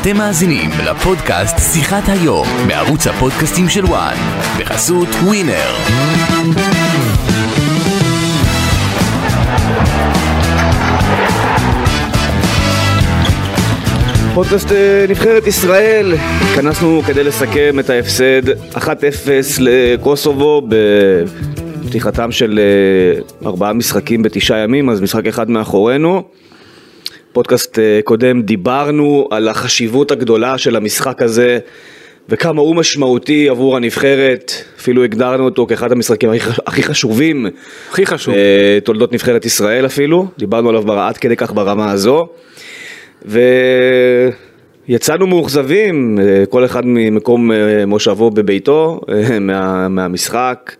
אתם מאזינים לפודקאסט שיחת היום בערוץ הפודקאסטים של וואן בחסות ווינר. פודקאסט אה, נבחרת ישראל, התכנסנו כדי לסכם את ההפסד 1-0 לקוסובו בפתיחתם של אה, ארבעה משחקים בתשעה ימים, אז משחק אחד מאחורינו. פודקאסט אה, קודם דיברנו על החשיבות הגדולה של המשחק הזה וכמה הוא משמעותי עבור הנבחרת, אפילו הגדרנו אותו כאחד המשחקים הכי חש- הכי חשובים הכי חשוב. אה, תולדות נבחרת ישראל אפילו, דיברנו עליו בר- עד כדי כך ברמה הזו. ויצאנו מאוכזבים, אה, כל אחד ממקום אה, מושבו בביתו, אה, מה, מהמשחק,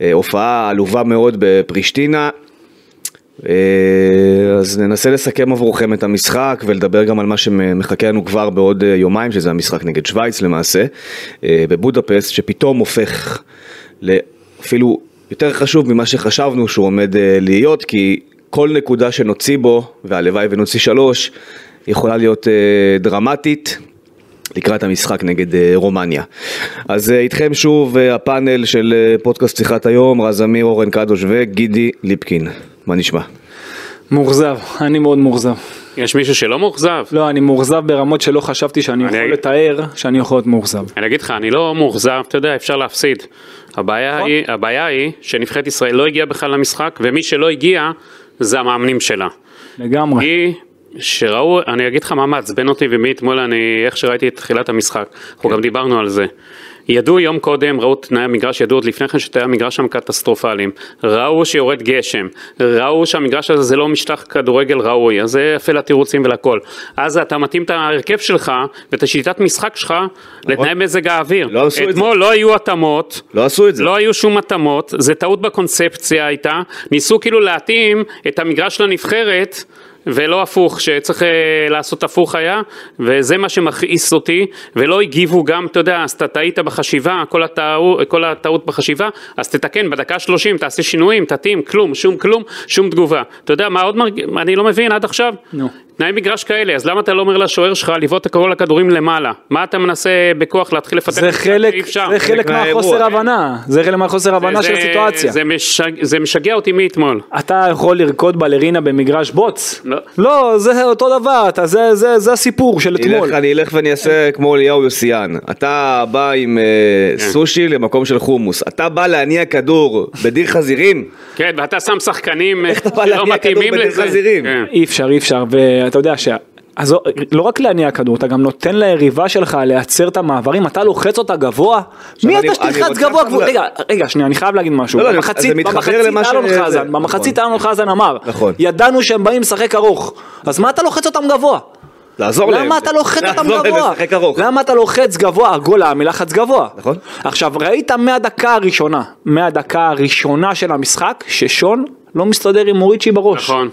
אה, הופעה עלובה מאוד בפרישטינה. אה, אז ננסה לסכם עבורכם את המשחק ולדבר גם על מה שמחכה לנו כבר בעוד אה, יומיים, שזה המשחק נגד שווייץ למעשה, אה, בבודפסט, שפתאום הופך לאפילו יותר חשוב ממה שחשבנו שהוא עומד אה, להיות, כי כל נקודה שנוציא בו, והלוואי ונוציא שלוש, יכולה להיות אה, דרמטית. לקראת המשחק נגד אה, רומניה. אז אה, איתכם שוב אה, הפאנל של אה, פודקאסט שיחת היום, רז אמיר, אורן קדוש וגידי ליפקין. מה נשמע? מאוכזב, אני מאוד מאוכזב. יש מישהו שלא מאוכזב? לא, אני מאוכזב ברמות שלא חשבתי שאני אני יכול אגיד- לתאר שאני יכול להיות מאוכזב. אני אגיד לך, אני לא מאוכזב, אתה יודע, אפשר להפסיד. הבעיה היא, הבעיה היא שנבחרת ישראל לא הגיעה בכלל למשחק, ומי שלא הגיע זה המאמנים שלה. לגמרי. היא, שראו, אני אגיד לך מה מעצבן אותי ומאתמול אני, איך שראיתי את תחילת המשחק, אנחנו כן. גם דיברנו על זה. ידעו יום קודם, ראו תנאי המגרש, ידעו עוד לפני כן שתנאי המגרש שם קטסטרופליים. ראו שיורד גשם, ראו שהמגרש הזה זה לא משטח כדורגל ראוי, אז זה יפה לתירוצים ולכל. אז אתה מתאים את ההרכב שלך ואת השיטת משחק שלך לתנאי מזג האוויר. נכון. לא עשו את זה. אתמול לא היו התאמות, לא עשו את זה. לא היו שום התאמות, זה טעות בקונספציה הייתה, ניסו כאילו להתאים את המגרש לנבחרת. ולא הפוך, שצריך אה, לעשות הפוך היה, וזה מה שמכעיס אותי, ולא הגיבו גם, אתה יודע, אז אתה טעית בחשיבה, כל, הטעו, כל הטעות בחשיבה, אז תתקן בדקה ה-30, תעשה שינויים, תתאים, כלום, שום כלום, שום תגובה. אתה יודע מה עוד מרגיש, אני לא מבין עד עכשיו. נו. תנאי מגרש כאלה, אז למה אתה לא אומר לשוער שלך לבעוט את כל הכדורים למעלה? מה אתה מנסה בכוח להתחיל לפתח? זה משחק חלק, שאי אפשר? כן. זה חלק מהאירוע. מהחוסר הבנה, זה חלק מהחוסר הבנה זה- של זה- הסיטואציה. זה, משג, זה משגע אותי מאתמול. אתה יכול לרקוד בלרינה במגרש בוץ? לא. לא, זה אותו דבר, אתה- זה- זה זה הסיפור של אני אתמול. אלך- אני אלך ואני אעשה כמו אליהו יוסיאן. אתה בא עם אה, סושי למקום של חומוס. אתה בא להניע כדור בדיר חזירים? כן, ואתה שם שחקנים אתה בא שלא להניע כדור מתאימים בין לזה. חזירים? כן. אי אפשר, אי אפשר, ואתה יודע ש... אז לא- לא רק להניע כדור, אתה גם נותן ליריבה שלך לייצר את המעברים, אתה לוחץ אותה גבוה? מי אני- אתה אני שתלחץ רוצה גבוה? אבל- גבוה? רגע, רגע, שנייה, אני חייב להגיד משהו. לא, לא, במחצית, זה מתחבר במחצית למה ש- אלון זה- חזן, נכון. במחצית אלון חזן אמר, נכון. ידענו שהם באים לשחק ארוך, אז מה אתה לוחץ אותם גבוה? לעזור להם. למה אתה לוחץ אותם לעזור להם גבוה? לשחק ארוך. למה אתה לוחץ גבוה? הגול היה מלחץ גבוה. נכון. עכשיו, ראית מהדקה הראשונה, מהדקה הראשונה של המשחק, ששון לא מסתדר עם מוריצ'י בראש. נכון.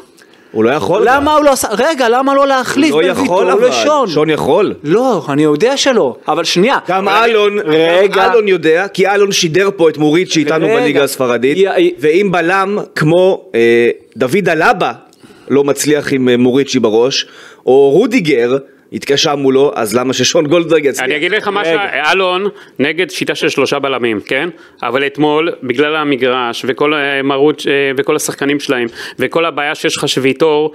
הוא לא יכול. למה הוא לא עשה, רגע, למה לא להחליף לא בין יכול ויטור לשון? אבל. שון יכול. לא, אני יודע שלא, אבל שנייה. גם רגע, אלון, גם רגע, אלון יודע, כי אלון שידר פה את מורית שאיתנו רגע. בליגה הספרדית, יא- ואם בלם כמו אה, דוד אלבה לא מצליח עם אה, מוריצ'י בראש, או רודיגר התקשה מולו, אז למה ששון גולדברג יצליח? אני אגיד לך משהו, אלון נגד שיטה של שלושה בלמים, כן? אבל אתמול, בגלל המגרש, וכל אה, מרוץ, אה, וכל השחקנים שלהם, וכל הבעיה שיש לך שוויתור,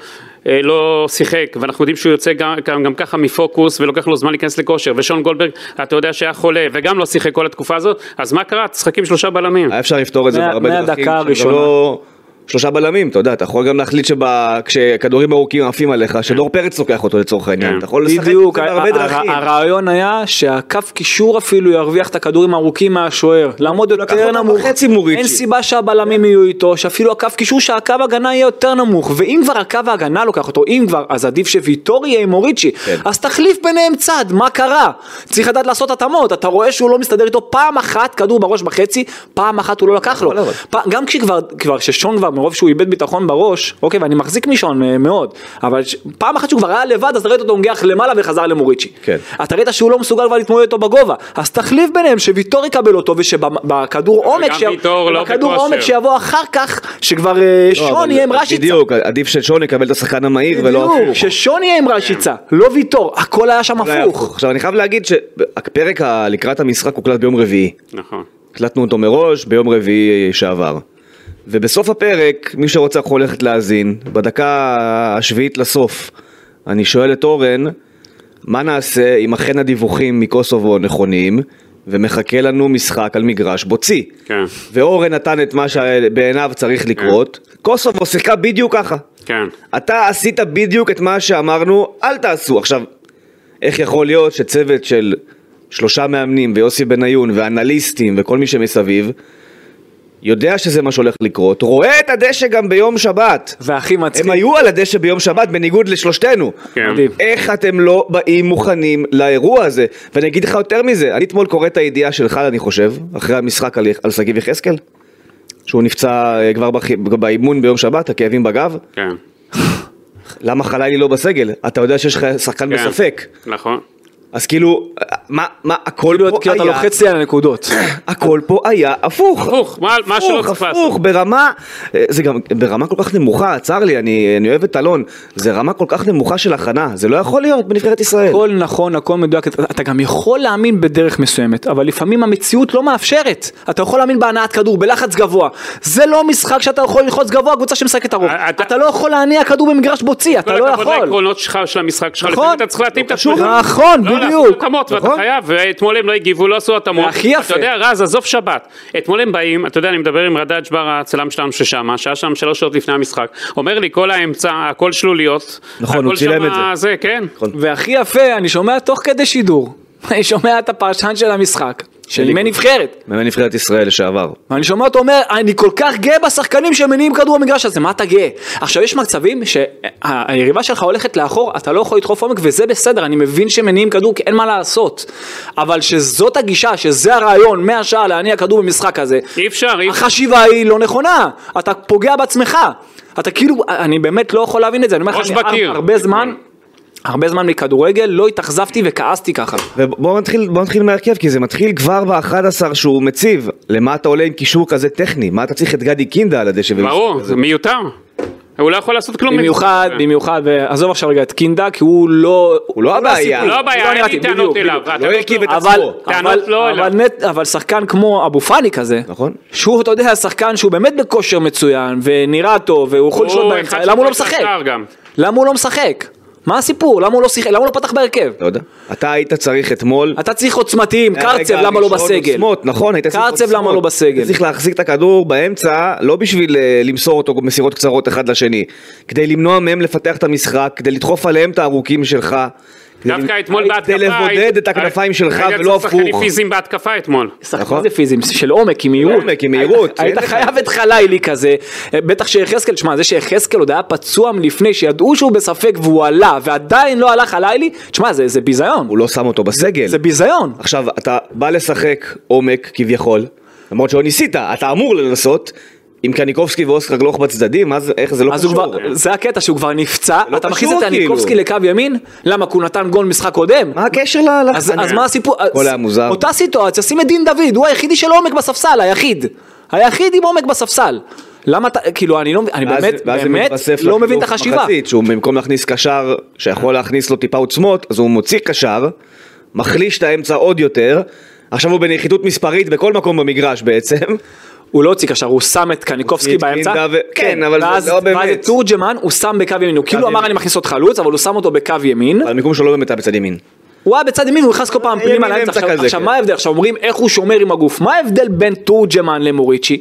אה, לא שיחק, ואנחנו יודעים שהוא יוצא גם, גם, גם ככה מפוקוס, ולוקח לו זמן להיכנס לכושר, ושון גולדברג, אתה יודע שהיה חולה, וגם לא שיחק כל התקופה הזאת, אז מה קרה? תשחק עם שלושה בלמים. היה אפשר לפתור את זה מה- בהרבה דרכים. מהדקה שגם הראשונה. לא- שלושה בלמים, אתה יודע, אתה יכול גם להחליט שכשכדורים ארוכים עפים עליך, שדור פרץ לוקח אותו לצורך העניין, כן. אתה יכול לשחק עם בדיוק, זה ה- בהרבה ה- דרכים. ה- הרעיון היה שהקו קישור אפילו ירוויח את הכדורים הארוכים מהשוער, לעמוד לקח יותר אותם נמוך, בחצי מוריצ'י. אין סיבה שהבלמים יהיו איתו, שאפילו הקו קישור שהקו הגנה יהיה יותר נמוך, ואם כבר הקו ההגנה לוקח אותו, אם כבר, אז עדיף שוויטור יהיה עם מוריצ'י, כן. אז תחליף ביניהם צד, מה קרה? צריך לדעת לעשות התאמות, אתה רואה שהוא לא מסתדר איתו פעם אחת כדור בראש בחצי, פעם אחת הוא לא לקח לו, אבל- פ- גם כשכבר, כבר, כששון כבר מרוב שהוא איבד ביטחון בראש, אוקיי, ואני מחזיק משעון אה, מאוד, אבל ש... פעם אחת שהוא כבר היה לבד, אז ראית אותו מונגח למעלה וחזר למוריצ'י. כן. אתה ראית שהוא לא מסוגל כבר להתמודד איתו בגובה, אז תחליף ביניהם שוויטור יקבל אותו, ושבכדור עומק, וגם ויטור לא בכדור בכושר. עומק שיבוא אחר כך, שכבר אה, לא, שון אבל- יהיה עם רשיצה. בדיוק, עדיף ששון יקבל את השחקן המהיר ולא בדיוק, הפוך. ששון יהיה עם רשיצה, לא ויטור, הכל היה שם לא היה הפוך. הפוך. עכשיו אני חייב להגיד שהפרק ה- לקראת המשחק הוקלט ביום רביעי. נכון. הקלטנו אותו מראש ביום רביעי שעבר. ובסוף הפרק, מי שרוצה יכול ללכת להאזין, בדקה השביעית לסוף, אני שואל את אורן, מה נעשה אם אכן הדיווחים מקוסובו נכונים, ומחכה לנו משחק על מגרש בוצי. כן. ואורן נתן את מה שבעיניו צריך לקרות, קוסובו שיחקה בדיוק ככה. כן. אתה עשית בדיוק את מה שאמרנו, אל תעשו. עכשיו, איך יכול להיות שצוות של שלושה מאמנים ויוסי בניון ואנליסטים וכל מי שמסביב, יודע שזה מה שהולך לקרות, רואה את הדשא גם ביום שבת. והכי הם מצחיק, היו על הדשא ביום שבת בניגוד לשלושתנו. כן. מדהים. איך אתם לא באים מוכנים לאירוע הזה? ואני אגיד לך יותר מזה, אני אתמול קורא את הידיעה שלך, אני חושב, אחרי המשחק על, על שגיב יחזקאל, שהוא נפצע אה, כבר בח- באימון ביום שבת, הכאבים בגב. כן. למה חלילי לא בסגל? אתה יודע שיש לך שחקן כן. בספק. נכון. אז כאילו, אה, מה, מה, הכל כאילו פה כי היה, אתה כן. לוחץ לי על הנקודות. הכל פה היה הפוך. הפוך, מה- מה שלא צריך הפוך, לעשות. ברמה, אה, זה גם ברמה כל כך נמוכה, צר לי, אני, אני אוהב את אלון, זה רמה כל כך נמוכה של הכנה, זה לא יכול להיות בנבחרת ישראל. הכל נכון, הכל מדויק, אתה אתה גם יכול להאמין בדרך מסוימת, אבל לפעמים המציאות לא מאפשרת. אתה יכול להאמין בהנעת כדור, בלחץ גבוה. זה לא משחק שאתה יכול ללחוץ גבוה, קבוצה שמשחקת ארוך. אתה- אתה לא יכול להניע כדור במגרש בוצי, אתה לא כל הכבוד יכול. לעקרונות שלך, של המשחק שלך, נכון. לפעמים אתה צריך להתאים את לא עצמך. קשור. נכון, לא, לעשות בדיוק. התאמות, ואתה נכון. חייב, ואתמול הם לא הגיבו, לא עשו התאמות. הכי יפה. אתה יודע, רז, עזוב שבת. אתמול הם באים, אתה יודע, אני מדבר עם רדאג' בר, הצלם שלנו ששם, שהיה שם שלוש שעות לפני המשחק. אומר לי, כל האמצע, הכל שלוליות. נכון, הוא הכל צילם שמה את זה. זה, כן. והכי יפה, אני שומע תוך כדי שידור. אני שומע את הפרשן של המשחק, של אימי נבחרת. מאמן נבחרת ישראל לשעבר. ואני שומע אותו אומר, אני כל כך גאה בשחקנים שמניעים כדור במגרש הזה, מה אתה גאה? עכשיו, יש מצבים שהיריבה שלך הולכת לאחור, אתה לא יכול לדחוף עומק, וזה בסדר, אני מבין שמניעים כדור, כי אין מה לעשות. אבל שזאת הגישה, שזה הרעיון, מהשעה להניע כדור במשחק הזה, אי אפשר, אי אפשר. החשיבה היא לא נכונה, אתה פוגע בעצמך. אתה כאילו, אני באמת לא יכול להבין את זה, אני אומר לך, ראש אני בקיר. הר- הרבה זמן, הרבה זמן מכדורגל, לא התאכזבתי וכעסתי ככה. ובואו נתחיל, בוא נתחיל מהרכב, כי זה מתחיל כבר ב-11 שהוא מציב. למה אתה עולה עם קישור כזה טכני? מה אתה צריך את גדי קינדה על הדשא? ברור, זה מיותר. הוא לא כן. יכול לעשות כלום. במיוחד, מזה. במיוחד, ועזוב עכשיו רגע את קינדה, כי הוא לא... הוא לא הבעיה. הסיפור. לא הבעיה, הוא אין נראה לי טוב, טענות בדיוק, אליו. בדיוק. לא הטענות הרכיב את אבל, עצמו. אבל, טענות לא אליו. אבל, נט, אבל שחקן כמו אבו פאני כזה, נכון. שהוא אתה יודע שחקן שהוא באמת בכושר מצוין ונראה טוב והוא יכול לשלוט הוא באמצע, אחד למה הוא לא שפועל משחק? לשער גם. למה הוא לא משחק? מה הסיפור? למה הוא לא שיחק? למה הוא לא פתח בהרכב? לא יודע. אתה היית צריך אתמול... אתה צריך עוצמתיים, אה, קרצב הרגע למה לא הראשון בסגל? עוצמות, נכון, היית צריך קרצב, למה עוצמות. לא בסגל? היית צריך להחזיק את הכדור באמצע, לא בשביל אה, למסור אותו מסירות קצרות אחד לשני, כדי למנוע מהם לפתח את המשחק, כדי לדחוף עליהם את הארוכים שלך. כדי דווקא למ- אתמול בהתקפה... כדי לבודד היית- את הכנפיים שלך היית ולא צריך שחקנים הפוך. פיזיים בהתקפה אתמול. שחקן נכון. זה פיזי, של עומק, עם מהירות. עומק, עם מהירות. היית אין לך- חייב את חלילי כזה, בטח שיחזקאל, שמע, זה שיחזקאל עוד היה פצוע מלפני, שידעו שהוא בספק והוא עלה, ועדיין לא עלה חלילי, תשמע, זה זה ביזיון. הוא לא שם אותו בסגל. זה ביזיון. עכשיו, אתה בא לשחק עומק כביכול, למרות שלא ניסית, אתה אמור לנסות, עם קניקובסקי ואוסקר גלוך בצדדים, אז איך זה לא אז הוא קשור? כבר, זה הקטע שהוא כבר נפצע, לא אתה מכניס קשור, את הניקובסקי כאילו. לקו ימין, למה? כי הוא נתן גול משחק קודם? מה הקשר ל... אז לחניה? אז מה הסיפור? הכל אז- היה מוזר. אותה סיטואציה, שים את דין דוד, הוא היחידי של עומק בספסל, היחיד. היחיד עם עומק בספסל. למה אתה, כאילו, אני לא מבין, אני ואז- באמת, ואז זה באמת מתווסף לא לחילוף מבין את החשיבה. מחצית, שהוא במקום להכניס קשר שיכול להכניס לו טיפה עוצמות, אז הוא מוציא קשר, מחליש את האמצע עוד יותר, עכשיו הוא בנחיתות מספרית בכל מקום במגרש בעצם. הוא לא הוציא קשר, הוא שם את קניקובסקי הוציא את באמצע. קינדה ו- כן, אבל זה ואז- לא באמת. ואז את תורג'מן הוא שם בקו ימין, הוא כאילו אמר ימין. אני מכניס אותך חלוץ, אבל הוא שם אותו בקו ימין. אבל המיקום שלו לא באמת היה בצד ימין. הוא היה בצד ימין, הוא נכנס כל פעם ימין פנימה לאמצע. לאמצע עכשיו- כזה, עכשיו כן. מה ההבדל? עכשיו אומרים איך הוא שומר עם הגוף. מה ההבדל בין תורג'מן למוריצ'י?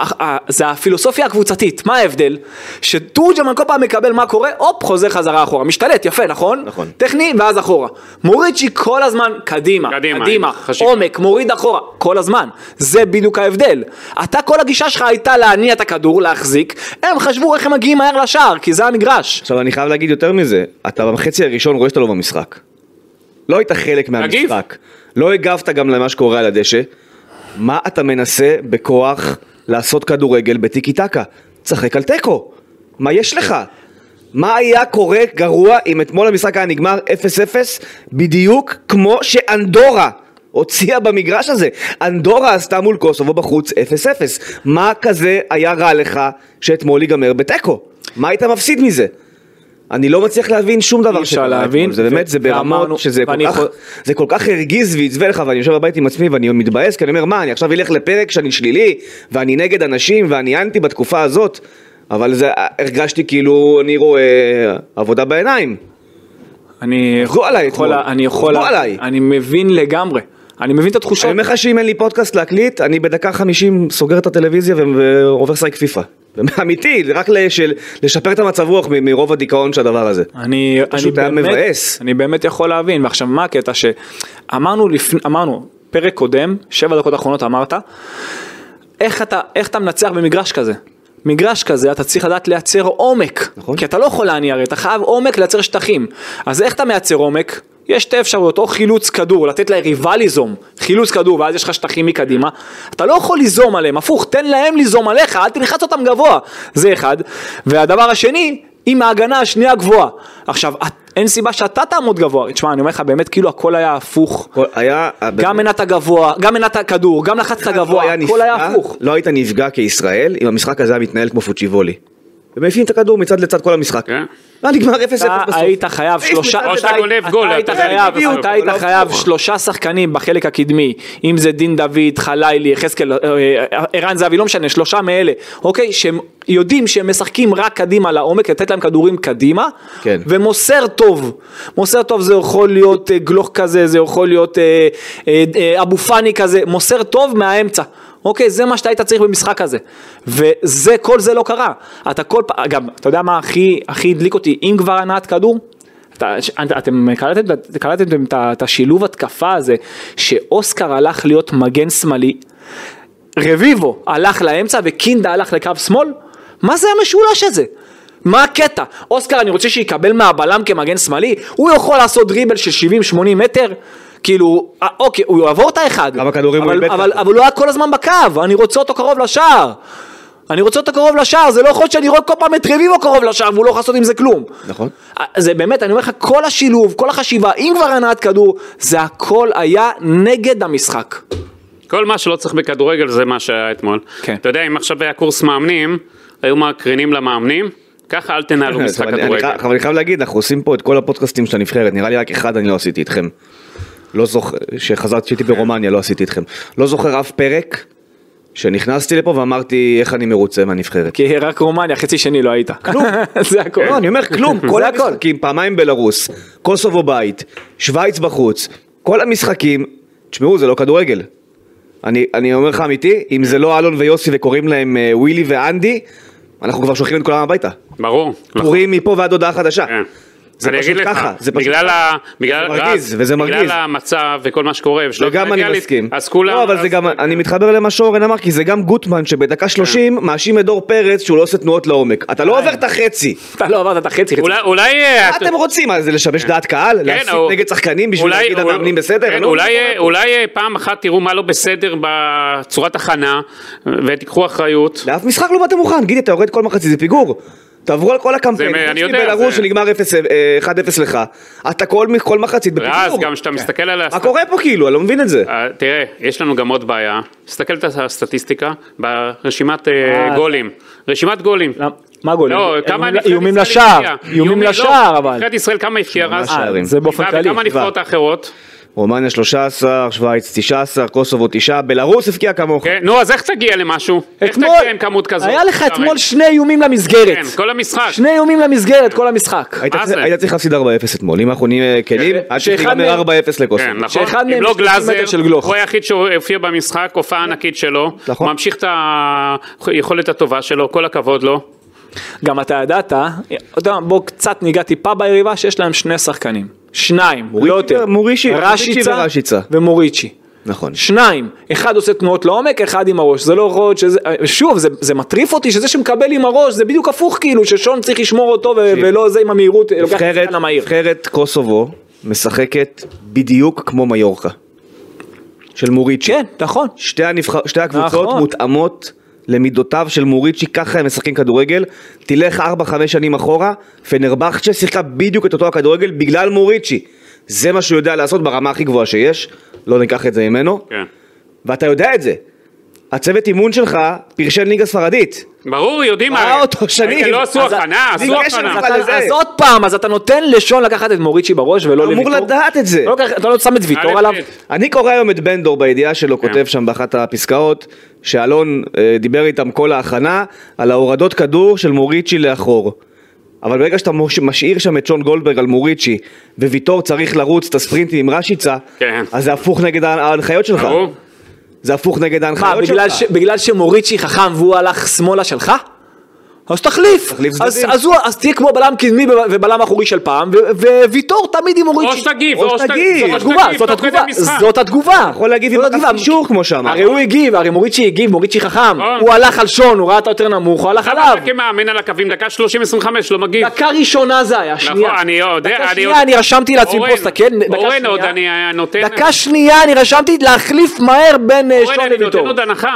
אך- אה, זה הפילוסופיה הקבוצתית, מה ההבדל? שתורג'מן כל פעם מקבל מה קורה, הופ, חוזר חזרה אחורה. משתלט, יפה, נכון? נכון. טכני, ואז אחורה. מוריצ'י כל הזמן קדימה, קדימה, קדימה, עם חשיבה. עומק, מוריד אחורה, כל הזמן. זה בדיוק ההבדל. אתה, כל הגישה שלך הייתה להניע את הכדור, להחזיק, הם חשבו איך הם מגיעים מהר לשער, כי זה המגרש. עכשיו אני חייב להגיד יותר מזה, אתה בחצי הראשון רואה שאתה לא במשחק. לא היית חלק תגיב. מהמשחק. לא הגבת גם למה שקורה על הדשא. מה אתה מנסה בכוח לעשות כדורגל בטיקי טקה? שחק על תיקו. מה יש לך? מה היה קורה גרוע אם אתמול המשחק היה נגמר 0-0 בדיוק כמו שאנדורה הוציאה במגרש הזה? אנדורה עשתה מול קוסובו בחוץ 0-0. מה כזה היה רע לך שאתמול ייגמר בתיקו? מה היית מפסיד מזה? אני לא מצליח להבין שום דבר אי אפשר שקרה להבין, אתמול. זה ו- באמת, זה ואמרנו- ברמות שזה כל ואני כך, יכול- זה כל כך הרגיז ועצבן לך, ואני יושב בבית עם עצמי ואני מתבאס, כי אני אומר, מה, אני עכשיו אלך לפרק שאני שלילי, ואני נגד אנשים, ואני אנטי בתקופה הזאת, אבל זה, הרגשתי כאילו אני רואה עבודה בעיניים. אני עבדו עליי יכול, אתמול. אני יכול, עבדו עליי. אני מבין לגמרי, אני מבין את התחושות, אני אומר לך שאם אין לי פודקאסט להקליט, אני בדקה חמישים סוגר את הטלוויזיה ו- ועובר לשחק פיפא. אמיתי, זה רק לשל- לשפר את המצב רוח מ- מרוב הדיכאון של הדבר הזה. אני, פשוט אני היה באמת, מבאס. אני באמת יכול להבין, ועכשיו מה הקטע שאמרנו לפני, אמרנו, פרק קודם, שבע דקות האחרונות אמרת, איך אתה, איך אתה מנצח במגרש כזה? מגרש כזה אתה צריך לדעת לייצר עומק, נכון. כי אתה לא יכול להניע הרי, אתה חייב עומק לייצר שטחים. אז איך אתה מייצר עומק? יש שתי אפשרויות, או חילוץ כדור, לתת ליריבה ליזום, חילוץ כדור ואז יש לך שטחים מקדימה, אתה לא יכול ליזום עליהם, הפוך, תן להם ליזום עליך, אל תלחץ אותם גבוה, זה אחד. והדבר השני, עם ההגנה השנייה גבוהה. עכשיו, את- אין סיבה שאתה תעמוד גבוה, תשמע, אני אומר לך, באמת כאילו הכל היה הפוך, כל- היה... גם מנת הגבוה, גם מנת הכדור, גם לחצת לא גבוה, היה הכל היה נפגע, הפוך. לא היית נפגע כישראל אם המשחק הזה היה מתנהל כמו פוצ'יבולי. הם מעיפים את הכדור מצד לצד כל המשחק. כן. היה נגמר 0-0 בסוף. אה, אתה היית חייב עיף שלושה, מצד או לצד. שאתה גונב אתה גול, היית אתה יודע, חייב, בדיוק, אתה היית לא חייב הפוך. שלושה שחקנים בחלק הקדמי, אם זה דין דוד, חלילי, יחזקאל, אה, אה, ערן זהבי, לא משנה, שלושה מאלה, אוקיי? שהם יודעים שהם משחקים רק קדימה לעומק, לתת להם כדורים קדימה, כן. ומוסר טוב. מוסר טוב זה יכול להיות אה, גלוך כזה, זה יכול להיות אה, אה, אה, אבו פאני כזה, מוסר טוב מהאמצע. אוקיי, זה מה שאתה היית צריך במשחק הזה. וזה, כל זה לא קרה. אתה כל פעם, גם, אתה יודע מה הכי, הכי הדליק אותי, אם כבר הנעת כדור? אתה- ש- את- אתם קלטתם, קלטתם את ה- את השילוב התקפה הזה, שאוסקר הלך להיות מגן שמאלי, רביבו הלך לאמצע וקינדה הלך לקו שמאל? מה זה המשולש הזה? מה הקטע? אוסקר אני רוצה שיקבל מהבלם כמגן שמאלי? הוא יכול לעשות דריבל של 70-80 מטר? כאילו, אה, אוקיי, הוא יעבור את האחד. כמה כדורים הוא אבל- איבד אבל, ככה? אבל הוא לא היה כל הזמן בקו, אני רוצה אותו קרוב לשער. אני רוצה אותו קרוב לשער, זה לא יכול להיות שאני רואה כל פעם את רביבו קרוב לשער והוא לא יכול לעשות עם זה כלום. אה, נכון. זה באמת, אני אומר לך, כל השילוב, כל החשיבה, אם כבר הנעת כדור, זה הכל היה נגד המשחק. כל מה שלא צריך בכדורגל זה מה שהיה אתמול. כן. אתה יודע, אם עכשיו היה קורס מאמנים, היו מקרינים למאמנים, ככה אל תנהלו לא משחק אבל אני- אני כדורגל. חי- אבל אני חייב להגיד, אנחנו עושים פה את כל הפודקאסטים של הנבחרת, נראה לי רק אחד אני לא עשיתי איתכם. לא זוכר, כשחזרתי, כשהייתי ברומניה לא עשיתי איתכם. לא זוכר אף פרק שנכנסתי לפה ואמרתי איך אני מרוצה מהנבחרת. כי רק רומניה, חצי שני לא היית. כלום. זה הכל. כן. לא, אני אומר כלום, כל זה הכל. המשחקים, פעמיים בלרוס, קוסובו בית, שווייץ בחוץ, כל המשחקים, תשמעו, זה לא כדורגל. אני, אני אומר לך אמיתי, אם זה לא אלון ויוסי וקוראים להם אה, ווילי ואנדי, אנחנו כבר שולחים את כולם הביתה. ברור. פורים מפה ועד הודעה חדשה. נכון. כן. זה אני פשוט אגיד לך, ככה, זה פשוט בגלל ה- בגלל- זה מרגיז, רק- וזה מרגיז. בגלל המצב וכל מה שקורה, ושלא וגם אני טריוויאלית, מסכים. אז כולם... לא, אבל אז- כן. זה גם, אני מתחבר למה שאורן אמר, כי זה גם גוטמן שבדקה 30 מאשים את דור פרץ שהוא לא עושה תנועות לעומק. אתה אה. לא עובר את החצי. אתה לא עברת את החצי, חצי. אולי... אולי... אה, מה אתם רוצים? מה זה לשבש דעת קהל? להסית כן. או- נגד שחקנים בשביל אולי- להגיד אולי- המאמנים בסדר? כן, אני לא אולי מבין מה אה, קורה פה. אולי אה, פעם אחת תראו מה לא בסדר בצורת הכנה, ותיקחו אחריות. לאף משחק לא באת מוכן, גידי אתה יורד כל מחצית, זה פיגור. תעברו על כל הקמפיין, זה מ- חוץ אני יודע, מבלרוס זה- שנגמר 0, אה, 1-0 לך, אתה כל כל מחצית בפיגור. ואז גם כן. כשאתה מסתכל על מה הסט- קורה פה כאילו? אני לא מבין את זה. אה, תראה, יש לנו גם עוד בעיה. תסתכל על הסטטיסטיקה ברשימת אה, אה, גולים. רשימת גולים. למ- מה גולים? לא, איומים כמה ל- נבחרת איומים ישראל לשער, הפקיעה? איומים לא, לשער, אבל. אה, נבחרת ישראל כמה הפקיעה אז? שמונה שערים. זה באופן כללי. וכמה נבחרות האחרות? רומניה 13, שווייץ 19, קוסובו 9, בלרוס הבקיעה כמוך. כן, נו, אז איך תגיע למשהו? איך אתמול- תגיע עם כמות כזאת? היה לך שערים? אתמול שני איומים למסגרת. כן, כל המשחק. שני איומים למסגרת, כל המשחק. היית מה צריך- זה? היית צריך להפסיד 4-0 אתמול, אם אנחנו נהיה כנים, עד שאחד מהם- שתיגמר 4-0 כן, לקוסובו. נכון. שאחד אם מהם לא יש 90 מטר גלאזר, של גלוך. כן. הוא היחיד שהופיע במשחק, הופעה ענקית שלו. נכון. הוא ממשיך את היכולת הטובה שלו, כל הכבוד לו. גם אתה ידעת, אתה יודע, בוא קצת ניגע טיפה ביריבה, שיש להם שני שחקנים. שניים, לא מוריצ'י יותר. ו- מוריצ'י, מוריצ'י רשיצה ורשיצה. ומוריצ'י. נכון. שניים, אחד עושה תנועות לעומק, אחד עם הראש, זה לא יכול להיות שזה, שוב, זה, זה מטריף אותי שזה שמקבל עם הראש, זה בדיוק הפוך כאילו, ששון צריך לשמור אותו ו- ולא זה עם המהירות, אה, לוקח את נבחרת- השחקן המהיר. נבחרת קוסובו משחקת בדיוק כמו מיורקה. של מוריצ'י. כן, נכון. שתי, הנבחר, שתי הקבוצות נכון. מותאמות למידותיו של מוריצ'י, ככה הם משחקים כדורגל. תלך 4-5 שנים אחורה, פנרבכצ'ה שיחקה בדיוק את אותו הכדורגל בגלל מוריצ'י. זה מה שהוא יודע לעשות ברמה הכי גבוהה שיש, לא ניקח את זה ממנו. כן. ואתה יודע את זה. הצוות אימון שלך פרשן ליגה ספרדית. ברור, יודעים. ראה הרי. אותו שנים. לא עשו אז- הכנה, בלי עשו קשר הכנה. בכלל לזה. אז עוד פעם, אז אתה נותן לשון לקחת את מוריצ'י בראש ולא אמור לוויטור? לדעת את זה. אתה לא לוקח- אתה לא שם את ויטור א', עליו? ב'. אני קורא היום את בן דור בידיעה שלו, כן. כותב שם באחת הפסקאות, שאלון אה, דיבר איתם כל ההכנה על ההורדות כדור של מוריצ'י לאחור. אבל ברגע שאתה מוש- משאיר שם את שון גולדברג על מוריצ'י, וויטור צריך לרוץ את הספרינטים עם רשיצה, כן. אז זה הפוך נגד ההנ- ההנחיות שלך. ברור. זה הפוך נגד מה, ההנחיות בגלל, שלך. ש, בגלל שמוריצ'י חכם והוא הלך שמאלה שלך? אז תחליף, תחליף אז, צדדים. אז, הוא, אז תהיה כמו בלם קדמי וב- ובלם אחורי של פעם, ו- וויטור תמיד עם או מוריצ'י. שתגיב, או או שתגיב. שתגיב. או התגובה, זאת תוך כדי התגובה, משחק. זאת התגובה. יכול להגיב עם זאת כף התגובה. אישור, כמו שאמרת. לא הרי הוא הגיב, הרי מוריצ'י הגיב, מוריצ'י חכם, נכון. הוא הלך על שון, הוא ראה אותה יותר נמוך, הוא הלך למה עליו. אתה כמאמן על הקווים, דקה 30-25 לא מגיב. דקה ראשונה זה היה, שנייה. נכון, אני יודע, דקה אני שנייה יודע. אני רשמתי לעצמי אורן, פוסט, כן? דקה אורן שנייה. עוד אני אה, נותן... דקה שנייה אני רשמתי להחליף מהר בין אה, אורן, שון אני נותן לויטור. עוד הנחה.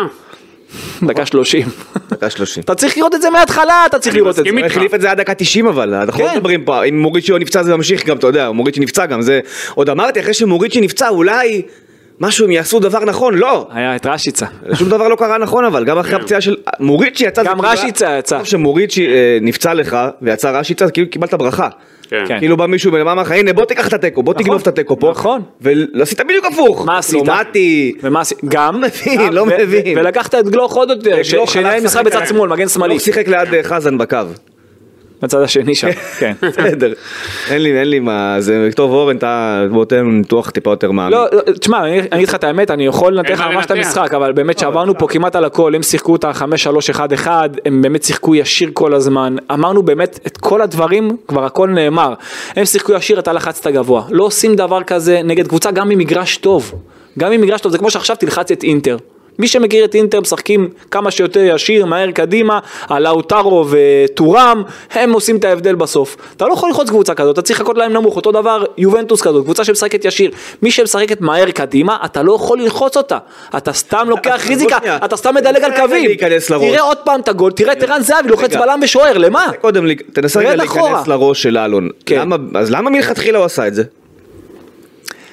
דקה שלושים. דקה שלושים. אתה צריך לראות את זה מההתחלה, אתה צריך אני לראות את מסכים זה. הוא החליף את זה עד דקה 90 אבל, אנחנו לא כן. מדברים פה, אם מוריצ'י לא נפצע זה ממשיך גם, אתה יודע, מוריצ'י נפצע גם, זה... עוד אמרתי, אחרי שמוריצ'י נפצע, אולי משהו הם יעשו דבר נכון, לא! היה את רשיצה. שום דבר לא קרה נכון אבל, גם אחרי הפציעה של... מוריצ'י יצא... כן. גם זה כאילו- רשיצה יצא. טוב שמוריצ'י אה, נפצע לך, ויצא רשיצה, כאילו קיבלת ברכה. כן. כאילו בא מישהו ולמה אמר לך, הנה בוא תיקח את התיקו, בוא נכון. תגנוב את התיקו פה. נכון. ועשית בדיוק הפוך. לא מה עשית? לומטי, ומה עשית? גם. מבין, גם, לא ו- מבין. ו- ולקחת את גלוך עוד יותר, ש- גלוך שינהל הלך משחק לשחק בצד כרגע. שמאל, מגן שמאלי. לא שיחק ליד אה, חזן בקו. בצד השני שם. כן. בסדר. אין לי, אין לי מה, זה... טוב אורן, אתה... בוא תן ניתוח טיפה יותר מעמיק. לא, לא, תשמע, אני אני אגיד לך את האמת, אני יכול לנתח אין מה ממש את לנתח. המשחק, אבל באמת שעברנו פה כמעט על הכל, הם שיחקו את ה-5-3-1-1, הם באמת שיחקו ישיר כל הזמן, אמרנו באמת את כל הדברים, כבר הכל נאמר. הם שיחקו ישיר, אתה לחצת גבוה. לא עושים דבר כזה נגד קבוצה גם ממגרש טוב. גם ממגרש טוב, זה כמו שעכשיו תלחץ את אינטר. מי שמכיר את אינטר משחקים כמה שיותר ישיר, מהר קדימה, הלאוטרו וטורם, הם עושים את ההבדל בסוף. אתה לא יכול ללחוץ קבוצה כזאת, אתה צריך לחכות להם נמוך, אותו דבר יובנטוס כזאת, קבוצה שמשחקת ישיר. מי שמשחקת מהר קדימה, אתה לא יכול ללחוץ אותה. אתה סתם לוקח בוא ריזיקה, שנייה. אתה סתם מדלג על תנסה רגע קווים. להיכנס לראש. תראה עוד פעם את הגול, תראה את ערן זהבי לוחץ רגע. בלם ושוער, למה? קודם, לי- תנסה רגע רד להיכנס אחורה. לראש של אלון. כן. למה, אז למה מלכתחילה הוא עשה את זה?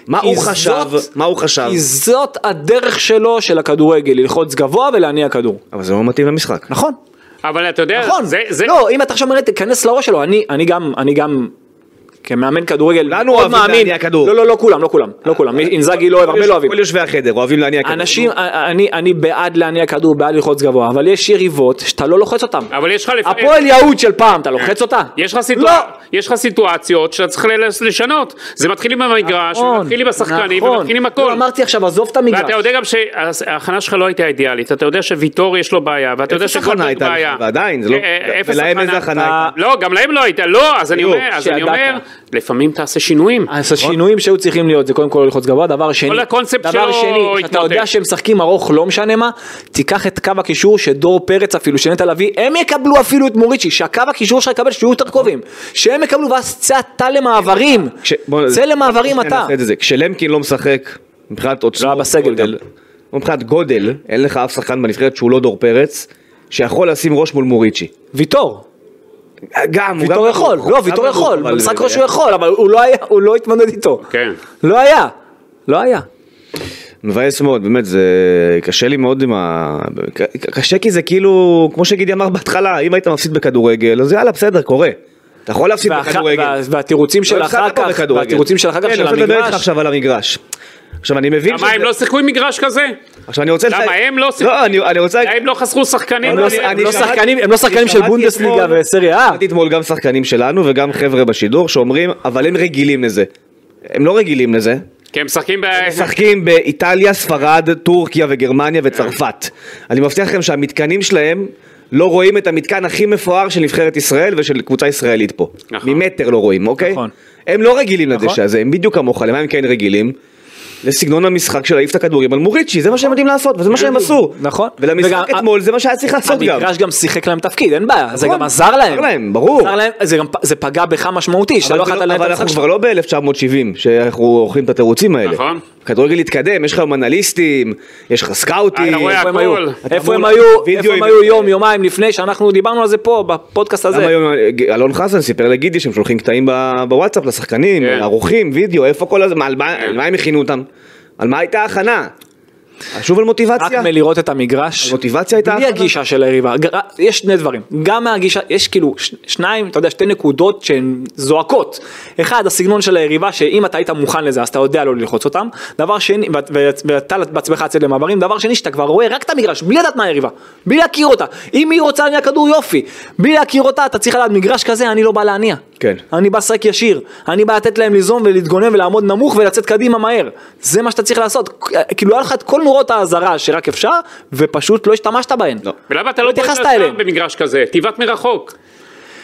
מה כי הוא חשב? זאת- מה הוא חשב? כי זאת הדרך שלו, של הכדורגל, ללחוץ גבוה ולהניע כדור. אבל זה לא מתאים למשחק. נכון. אבל אתה יודע, נכון, זה... זה- לא, אם אתה עכשיו מראה, תיכנס לראש שלו, אני, אני גם, אני גם, כמאמן כדורגל, כולנו מאוד אוהבים מאמין- להניע כדור. לא, לא, לא כולם, לא כולם, לא אה, כולם, אינזאגי לא אוהב, הרבה לא אוהבים. כל יושבי החדר אוהבים להניע כדור. אנשים, אה, אני, אני בעד להניע כדור, בעד ללחוץ גבוה, אבל יש יריבות שאתה לא לוחץ אותן. אבל יש לך לפ- הפועל יהוד של פעם, אתה לוחץ אותה? יש לך, סיטואצ... לא. יש לך סיטואציות שאתה צריך ל- לשנות, זה מתחיל עם המגרש, נכון, ומתחיל עם השחקנים, נכון. ומתחיל עם לא, הכל. אמרתי עכשיו, עזוב את המגרש. ואתה יודע גם שההכנה שלך לא הייתה אידיאלית, אתה יודע שוויטור יש לו בעיה, ואתה יודע אפס הכנה שגולדברג הייתה לך, בעיה. ועדיין, זה לא- אה, אפס ולהם איזה הכנה הייתה? לא, גם להם לא הייתה, לא, אז אני בדיוק, אומר, אז אני שידעת. אומר, לפעמים תעשה שינויים. אז השינויים שהיו צריכים להיות זה קודם כל ללחוץ גבוה, דבר שני, כל הקונספט דבר שלו שני, שאתה התמוטט. יודע שהם משחקים ארוך לא משנה מה, תיקח את קו הקישור שדור פרץ אפילו, שנטע לביא, הם יקבלו אפילו את מוריצ'י, שהקו הקישור שלך יקבל שיהיו יותר קרובים, שהם יקבלו ואז צא אתה למעברים, כש- בוא- צא למעברים שנייה, אתה, נעשה את זה. כשלמקין לא משחק, מבחינת עוצמות, היה בסגל גודל, או מבחינת גודל, אין לך אף שחקן בנבחרת שהוא לא דור פרץ, שיכול לשים ראש מול מוריצ'י. ויטור, גם, הוא ויטור גם- יכול, הוא- לא גם ויטור הוא- יכול, אבל- במשחק ראש הוא יכול, אבל הוא לא היה, הוא לא התמודד איתו, כן. לא היה, לא היה, מבאס מאוד, באמת, זה קשה לי מאוד עם ה... ק- קשה כי זה כאילו, כמו שגידי אמר בהתחלה, אם היית מפסיד בכדורגל, אז יאללה, בסדר, קורה. אתה יכול להפסיד והח- בכדורגל. וה- והתירוצים של לא הפסדת אחר פה כך, בכדורגל. והתירוצים של אחר כך כן, של אני רוצה לדבר איתך המגרש, עכשיו על המגרש. עכשיו, אני מבין למה הם לא שיחקו עם מגרש כזה? עכשיו, אני רוצה... למה לסיים- הם לא שיחקו? לא, אני אני רוצה... הם לא חסכו שחקנים? הם לא- אני- הם לא שמעתי- שחקנים- הם לא שחקנים של שמעתי בונדסליגה אתמול- וסריה A. שמעתי אתמול גם שחקנים שלנו וגם חבר'ה בשידור שאומרים, אבל הם רגילים לזה. הם לא רגילים לזה. כי הם משחקים ב... משחקים באיטליה, ספרד, טורקיה וגרמניה וצרפת. אני מבטיח לכם שהמתקנים שלהם לא רואים את המתקן הכי מפואר של נבחרת ישראל ושל קבוצה ישראלית פה. נכון. ממטר לא רואים, אוקיי? נכון. הם לא רגילים לדשא הזה, הם בדיוק כמוך, למה הם כן רגילים? לסגנון המשחק של להעיף את הכדורים על מוריצ'י, זה מה שהם יודעים לעשות, וזה מה שהם עשו. נכון. ולמשחק וגם- אתמול זה מה שהיה צריך לעשות גם. המגרש גם שיחק להם תפקיד, אין בעיה, זה נכון, גם עזר להם. עזר להם, ברור. עזר להם, זה גם פ- זה פגע בך משמעותי, שאתה אבל לא זה יכולת לא- לנהל אבל את המשחק אנחנו שלך. כבר לא ב-1970, שאנחנו עורכים את התירוצים האלה. נכון. הכדורגל התקדם, יש לך היום אנליסטים, יש לך סקאוטים. אה, אתה רואה איפה הם הכל. היו? אתה אמור איפה הם לה- היו? לא- וידאו איפה הם עם- היו יום, יומיים לפני שאנחנו דיברנו על זה פה, בפודקאסט למה הזה. היום אה, אלון חסן סיפר לגידי שהם שולחים קטעים ב- בוואטסאפ לשחקנים, כן. ערוכים, וידאו, איפה כל הזמן, על כן. מה- על מה הם הכינו אותם? על מה הייתה ההכנה? שוב על רק מוטיבציה? מלראות את המגרש. המוטיבציה הייתה בלי אחת. הגישה של היריבה, ג- יש שני דברים, גם מהגישה, יש כאילו ש- שניים, אתה יודע, שתי נקודות שהן זועקות. אחד, הסגנון של היריבה, שאם אתה היית מוכן לזה, אז אתה יודע לא ללחוץ אותם. דבר שני, ואת- ואת- ואתה בעצמך יוצא למעברים, דבר שני, שאתה כבר רואה רק את המגרש, בלי לדעת מה היריבה, בלי להכיר אותה. אם היא רוצה להניע כדור, יופי. בלי להכיר אותה, אתה צריך לדעת, מגרש כזה, אני לא בא להניע. כן. אני בא לשחק ישיר, אני בא לתת להם ליזום ולהתגונן ולעמוד נמוך ולצאת קדימה מהר. זה מה שאתה צריך לעשות. כאילו היה לך את כל נורות האזהרה שרק אפשר, ופשוט לא השתמשת בהן. לא. ולמה אתה לא בועט התייחסת לשער אליהם. במגרש כזה? תיבת מרחוק.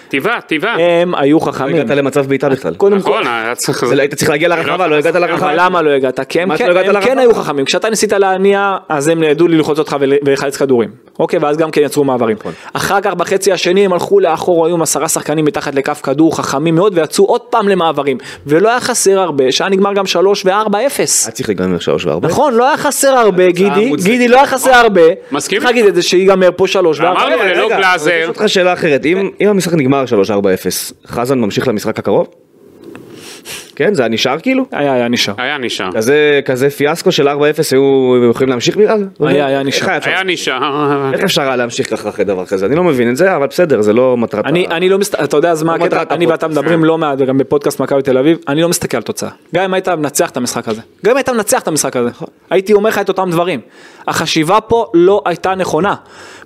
תיבה, תיבה. הם היו לא חכמים. הגעת למצב בעיטה בכלל. אה, קודם כל, נכון, היה צריך... זה לא- היית צריך להגיע לרחבה, לא הגעת לרחבה. אבל למה לא הגעת? כי הם מה, אתה כן- לא הגעת הם כן לרחבה? היו חכמים. כשאתה ניסית להניע, אז הם ידעו ללחוץ אותך ול- ולחלץ כדורים. אוקיי, ואז גם כן יצרו מעברים. נכון. אחר כך בחצי השני הם הלכו לאחור, היו עם עשרה שחקנים מתחת לקו כדור, חכמים מאוד, ויצאו עוד פעם למעברים. ולא היה חסר הרבה, שהיה נגמר גם 3 ו-4-0. היה אה, צריך לגמר שלוש וארבע. נכון, לא היה חסר הרבה, גידי, מוצדקת. גידי לא היה חסר הרבה. נכון. מסכים צריך להגיד את זה שיגמר פה שלוש וארבע. אמרנו, ללא רגע, אני גלאזר. רוצה לשאול אותך שאלה אחרת, אם כן. אם המשחק נגמר 3-4-0, חזן ממשיך למשחק הקרוב? כן, זה היה נשאר כאילו? היה, היה נשאר. היה נשאר. כזה כזה פיאסקו של 4-0 היו יכולים להמשיך בכלל? היה, היה איך נשאר. אפשר- היה נשאר. איך אפשר היה להמשיך ככה אחרי דבר כזה? אני לא מבין את זה, אבל בסדר, זה לא מטרת... אני, ה- אני לא מסתכל, אתה יודע אז מה לא מטרת הקטע, אני ואתה הפודקאסט. מדברים לא מעט וגם בפודקאסט מכבי תל אביב, אני לא מסתכל על תוצאה. גם אם היית מנצח את המשחק הזה, גם אם היית מנצח את המשחק הזה, נכון. הייתי אומר לך את אותם דברים. החשיבה פה לא הייתה נכונה.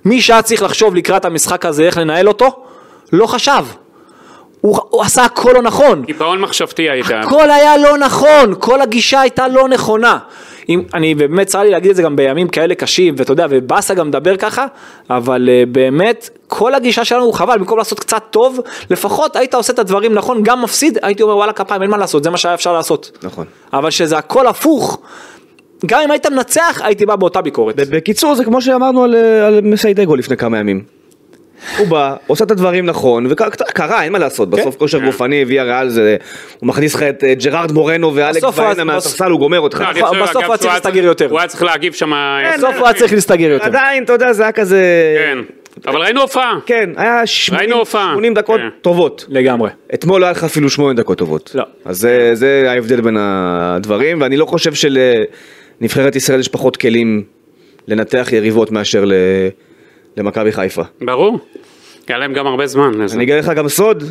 מי שהיה צריך לחשוב לקראת המשחק הזה איך לנהל אותו, לא חשב. הוא, הוא עשה הכל לא נכון. קיפאון מחשבתי הייתה. הכל היה לא נכון, כל הגישה הייתה לא נכונה. אם, אני באמת צר לי להגיד את זה גם בימים כאלה קשים, ואתה יודע, ובאסה גם מדבר ככה, אבל uh, באמת, כל הגישה שלנו הוא חבל, במקום לעשות קצת טוב, לפחות היית עושה את הדברים נכון, גם מפסיד, הייתי אומר וואלה כפיים, אין מה לעשות, זה מה שהיה אפשר לעשות. נכון. אבל שזה הכל הפוך, גם אם היית מנצח, הייתי בא באותה ביקורת. ב- בקיצור, זה כמו שאמרנו על, אה, על מסיידגו לפני כמה ימים. הוא בא, עושה את הדברים נכון, וקרה, אין מה לעשות, בסוף כן. כושר גופני, ויה ריאל זה, הוא מכניס לך את אה, ג'רארד מורנו ואלכס בסוף אה, ויינה הוא- מהספסל, הוא גומר אותך. לא, אני חושב, בסוף אגב, הוא היה צריך שהוא להסתגר יותר. כן, לא- הוא היה צריך להגיב שם... אה, בסוף הוא היה צריך להסתגר יותר. עדיין, אתה יודע, זה היה כזה... כן. אבל ראינו הופעה. כן, היה 80, ראינו הופעה. 80 דקות כן. טובות. לגמרי. אתמול לא היה לך אפילו 8 דקות טובות. לא. אז זה, זה ההבדל בין הדברים, ואני לא חושב שלנבחרת ישראל יש פחות כלים לנתח יריבות מאשר ל... למכבי חיפה. ברור. היה להם גם הרבה זמן. לזה. אני אגלה לך גם סוד,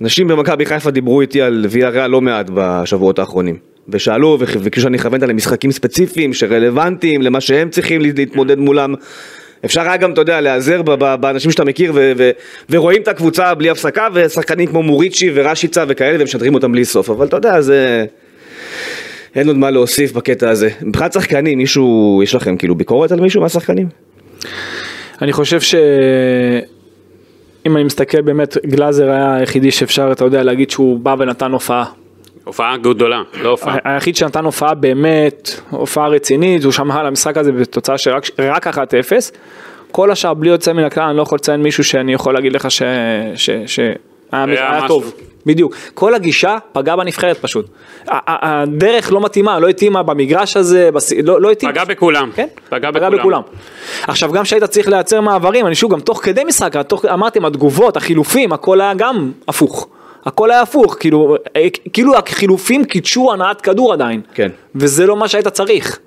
נשים במכבי חיפה דיברו איתי על ויה לא מעט בשבועות האחרונים. ושאלו וכ- וביקשו שאני אכוון אותה למשחקים ספציפיים שרלוונטיים למה שהם צריכים להת- להתמודד מולם. אפשר היה גם, אתה יודע, להיעזר ב- ב- באנשים שאתה מכיר ו- ו- ורואים את הקבוצה בלי הפסקה ושחקנים כמו מוריצ'י ורשיצה וכאלה ומשדרים אותם בלי סוף. אבל אתה יודע, זה... אין עוד מה להוסיף בקטע הזה. מבחינת שחקנים, מישהו, יש לכם כאילו ביקורת על מישהו מהשחקנים? אני חושב ש... אם אני מסתכל באמת, גלאזר היה היחידי שאפשר, אתה יודע, להגיד שהוא בא ונתן הופעה. הופעה גדולה, לא הופעה. ה- היחיד שנתן הופעה באמת, הופעה רצינית, הוא שמע על המשחק הזה בתוצאה של רק- רק 1-0. כל השאר בלי יוצא מן הכלל, אני לא יכול לציין מישהו שאני יכול להגיד לך ש... ש... ש... היה היה משהו. טוב, בדיוק. כל הגישה פגעה בנבחרת פשוט. ה- ה- הדרך לא מתאימה, לא התאימה במגרש הזה, בס- לא לא התאימה. פגע בכולם. כן, פגע בכולם. עכשיו גם שהיית צריך לייצר מעברים, אני שוב גם תוך כדי משחק, תוך, אמרתם התגובות, החילופים, הכל היה גם הפוך. הכל היה הפוך, כאילו, אה, כאילו החילופים קידשו הנעת כדור עדיין. כן. וזה לא מה שהיית צריך.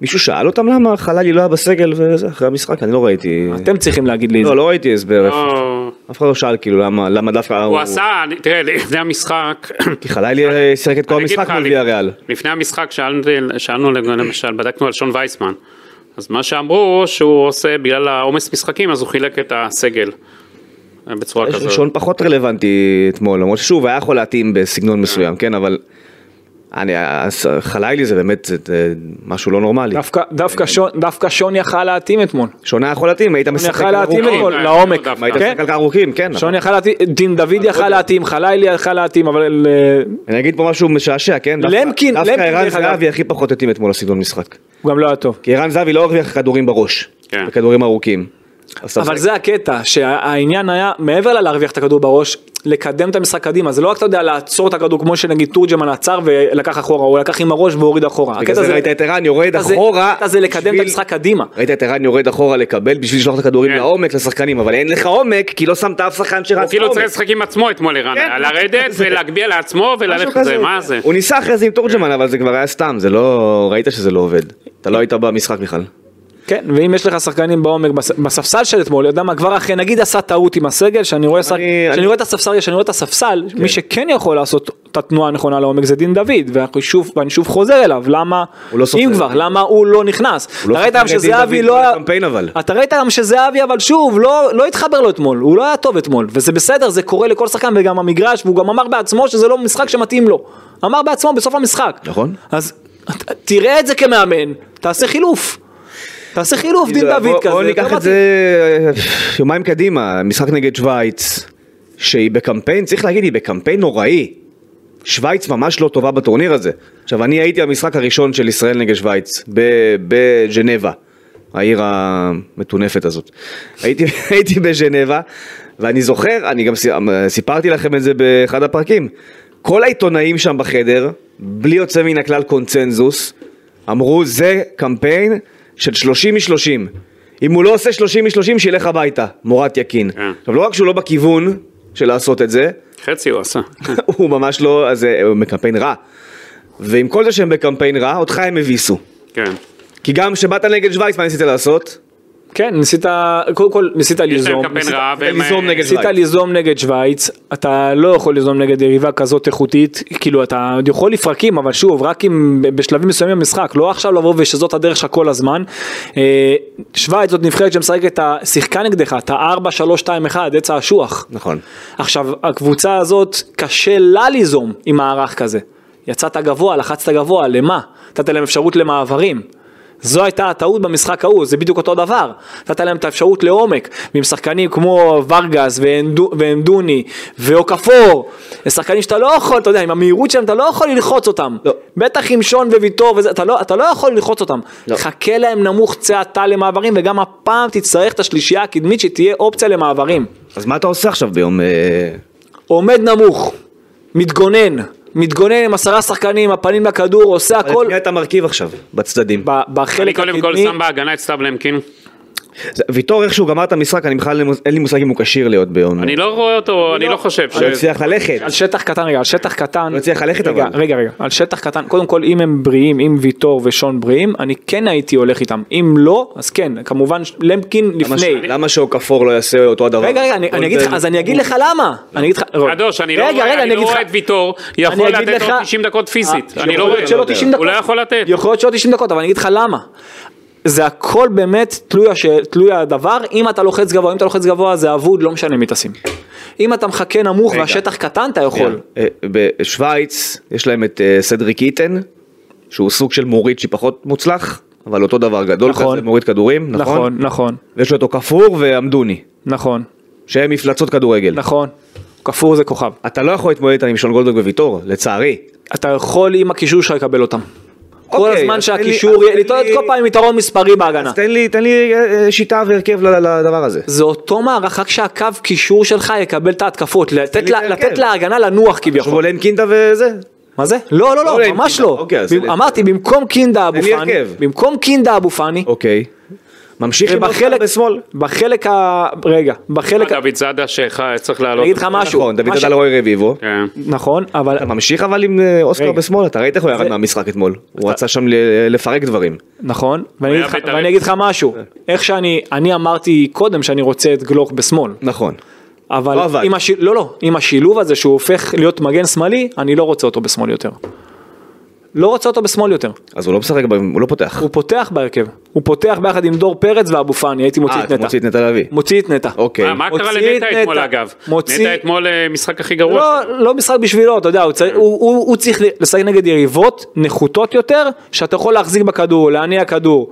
מישהו שאל אותם למה חללי לא היה בסגל וזה, אחרי המשחק, אני לא ראיתי. אתם צריכים להגיד לי את זה. לא, לא ראיתי הסבר, לא- אף אחד לא שאל כאילו למה למה דווקא הוא עשה, אני- תראה, לפני המשחק, כי חלילי שיחק את כל אני אגיד המשחק לך, מול אני- ויה ריאל. לפני המשחק שאלנו, שאלנו למשל, בדקנו על שון וייסמן. אז מה שאמרו, שהוא עושה, בגלל העומס משחקים, אז הוא חילק את הסגל. אה, בצורה כזאת. ראשון פחות רלוונטי אתמול, למרות ששוב היה יכול להתאים בסגנון מסוים, כן, אבל אני- הס- חלילי זה באמת זה, אה, משהו לא נורמלי. דווקא, דווקא, שון, דווקא שון יכל להתאים אתמול. שונה יכול להתאים, היית משחק יכל על להתאים ארוכים. אתמול אה, לעומק. דווקא. היית כן? משחק לא על ארוכים, כן. שון יכל להתאים, דין דוד יכל להתאים, חלילי יכל להתאים, אבל אה, אני אגיד פה משהו משעשע, כן? דווקא- למקין- דווקא למקין, ערן דרך אגב. זהבי הכי פחות התאים אתמול לסגנון משחק. הוא גם לא היה טוב. כי ערן זהבי לא הרוויח כדורים בראש, כן. וכדורים ארוכים. אז אתה אבל משחק- זה הקטע, שהעניין היה, מעבר ללהרוויח את הכדור בראש, לקדם את המשחק קדימה, זה לא רק אתה יודע לעצור את הכדור כמו שנגיד תורג'מן עצר ולקח אחורה, או לקח עם הראש והוריד אחורה. בגלל הקטע זה ראית את ערן יורד הקטע זה- אחורה. הקטע זה לקדם את בשביל- המשחק קדימה. ראית את ערן יורד אחורה לקבל בשביל לשלוח את הכדורים כן. לעומק לשחקנים, אבל אין לך עומק כי לא שמת אף שחקן שרץ הוא לעומק. כאילו צריך לשחק עם עצמו אתמול כן, ערן, לרדת זה- ולהגביה לעצמו משהו וללכת כזה. זה, מה זה? הוא ניסה אחרי זה עם תורג'מן, אבל זה כבר היה סתם, זה לא... ראית שזה לא עובד. אתה לא היית במשחק בכלל. כן, ואם יש לך שחקנים בעומק בס- בספסל של אתמול, יודע מה, כבר אחרי, נגיד עשה טעות עם הסגל, שאני רואה שחק- אני- כן. שאני רואה את הספסל, שאני רואה את הספסל, מי שכן יכול לעשות את התנועה הנכונה לעומק זה דין דוד, ואנחנו שוב- ואני שוב חוזר אליו, למה, הוא לא סופר. אם כבר, למה הוא לא נכנס? הוא לא אתה ראית סופר גם את דין שזהבי דוד לא היה... בקמפיין, אבל. אתה ראית גם שזהבי, אבל שוב, לא לא התחבר לו אתמול, הוא לא היה טוב אתמול, וזה בסדר, זה קורה לכל שחקן וגם המגרש, והוא גם אמר בעצמו שזה לא משחק שמתאים לו. אמר בעצמו בסוף המשחק. נכון. אז ת- תראה את זה כמאמן, תעשה חילוף. תעשה חילוף דין כאילו, בוא- כאילו דוד כזה. בוא ניקח יותר את זה אה, יומיים קדימה, משחק נגד שווייץ, שהיא בקמפיין, צריך להגיד, היא בקמפיין נוראי. שווייץ ממש לא טובה בטורניר הזה. עכשיו, אני הייתי במשחק הראשון של ישראל נגד שווייץ, ב- בז'נבה, העיר המטונפת הזאת. הייתי, הייתי בז'נבה, ואני זוכר, אני גם סי- סיפרתי לכם את זה באחד הפרקים, כל העיתונאים שם בחדר, בלי יוצא מן הכלל קונצנזוס, אמרו זה קמפיין של 30 מ-30. אם הוא לא עושה 30 מ-30, שילך הביתה, מורת יקין. כן. עכשיו, לא רק שהוא לא בכיוון של לעשות את זה, חצי הוא עשה. כן. הוא ממש לא, אז אה, הוא בקמפיין רע. ועם כל זה שהם בקמפיין רע, אותך הם הביסו. כן. כי גם כשבאת נגד שווייץ, מה ניסית לעשות? מתאים. כן, ניסית, קודם כל ניסית יש להם ליזום. קמפיין אה, ניסית- ניסית רע והם... ליזום נגד ניסית שווייץ. ליזום נגד שווייץ, אתה לא יכול ליזום נגד יריבה כזאת איכותית, כאילו אתה עוד יכול לפרקים, אבל שוב, רק אם בשלבים מסוימים במשחק, לא עכשיו לבוא ושזאת הדרך שלך כל הזמן. אה, שווייץ זאת נבחרת שמשחקת, ה- שיחקה נגדך, אתה 4-3-2-1, עץ האשוח. נכון. עכשיו, הקבוצה הזאת, קשה לה ליזום עם מערך כזה. יצאת גבוה, לחצת גבוה, למה? נתת להם אפשרות למעברים. זו הייתה הטעות במשחק ההוא, זה בדיוק אותו דבר. נתת להם את האפשרות לעומק, ועם שחקנים כמו ורגס ואנדו- ואנדוני ואוקפור, זה שחקנים שאתה לא יכול, אתה יודע, עם המהירות שלהם אתה לא יכול ללחוץ אותם. לא. בטח עם שון וויטור, וזה, אתה, לא, אתה לא יכול ללחוץ אותם. לא. חכה להם נמוך צעתה למעברים, וגם הפעם תצטרך את השלישייה הקדמית שתהיה אופציה למעברים. אז מה אתה עושה עכשיו ביום... אה, עומד נמוך, מתגונן, מתגונן עם עשרה שחקנים, הפנים לכדור, עושה את הכל מי אתה מרכיב עכשיו, בצדדים? ב- אני בחלק קודם כל הקדמי. שם בהגנה את סתיו למקין. זה- ויטור איכשהו גמר את המשחק, אני בכלל אין לי מושג אם הוא כשיר להיות ביום. אני לא רואה אותו, אני לא- לא חושב הוא לא ש... הצליח ללכת. על שטח קטן רגע, על שטח קטן. לא הצליח ללכת, רגע, אבל. רגע, רגע, על שטח קטן. קודם כל, אם הם בריאים, אם ויטור ושון בריאים, אני כן הייתי הולך איתם. אם לא, אז כן, כמובן ש- למקין למה ש- לפני. למה שאוקפור לא יעשה אותו הדבר? רגע, רגע, אני- אני אגיד לך, אז אני אגיד לך למה. אני אגיד לך, קדוש, אני לא רגע, רגע, רואה- אני אני לא אגיד רואה את לך, ויטור אני יכול אגיד לתת לך- עוד 90 דקות פיזית. אה, אני לא יכול להיות רואה. שלא 90 הוא לא דקות. יכול לתת. יכול להיות שעוד 90 דקות, אבל אני אגיד לך למה. זה הכל באמת תלוי, הש... תלוי הדבר, אם אתה לוחץ גבוה, אם אתה לוחץ גבוה זה אבוד, לא משנה מי תשים. אם אתה מחכה נמוך רגע. והשטח קטן, אתה יכול. כן. אה, בשוויץ יש להם את אה, סדריק איטן, שהוא סוג של מוריד שפחות מוצלח, אבל אותו דבר גדול, נכון. כזה מוריד כדורים, נכון? נכון, נכון, ויש לו את אוקפור ועמדוני, נכון, שהם מפלצות כדורגל. נכון. כפור זה כוכב. אתה לא יכול להתמודד איתם עם שון גולדברג וויטור, לצערי. אתה יכול עם הקישור שלך לקבל אותם. כל אוקיי, הזמן אז תן לי- שהקישור, אז יהיה- תן לטעות לי- כל פעם עם יתרון מספרי בהגנה. אז תן לי, תן לי אה, שיטה והרכב ל- ל- לדבר הזה. זה אותו מערך, רק שהקו קישור שלך יקבל את ההתקפות, לתת לי את כן, לה- ההרכב. לתת להגנה לנוח עכשיו כביכול. עולה עם קינדה וזה. מה זה? לא, לא, אולי לא, עם ממש קינדה. לא. אוקיי, אז במ- הנה. אמרתי, במקום קינדה אבו לי פאני, הרכב. במקום קינדה אבו פאני, אוקיי. ממשיך עם ובחלק, אוסקר בשמאל. בחלק ה... רגע, בחלק ה... דוד זאדה שצריך אני לעלות. אגיד לך משהו. נכון, דוד מה ש- דדל רוי רביבו. כן. נכון, אבל... אתה ממשיך אבל עם אה, אוסקר רגע. בשמאל, אתה ראית איך הוא ירד זה- מהמשחק אתמול. הוא רצה שם ל- לפרק דברים. נכון, ואני אגיד היה לך- בית"רי. ואני אגיד לך משהו. כן. איך שאני... אני אמרתי קודם שאני רוצה את גלוך בשמאל. נכון. אבל לא עבד. עם הש... לא, לא, עם השילוב הזה שהוא הופך להיות מגן שמאלי, אני לא רוצה אותו בשמאל יותר. לא רוצה אותו בשמאל יותר. אז הוא לא משחק, ב- הוא לא פותח. הוא פותח בהרכב. הוא פותח ביחד עם דור פרץ ואבו פאני, הייתי מוציא אה, את אתה מוציא את נטע. נטע לביא. מוציא את נטע. אוקיי. אה, מה קרה מוציא את לנטע אתמול נטע. אגב? מוציא- נטע אתמול אה, משחק הכי גרוע. לא, לא משחק בשבילו, אתה יודע, הוא צריך, הוא, הוא, הוא צריך לשחק נגד יריבות נחותות יותר, שאתה יכול להחזיק בכדור, להניע כדור.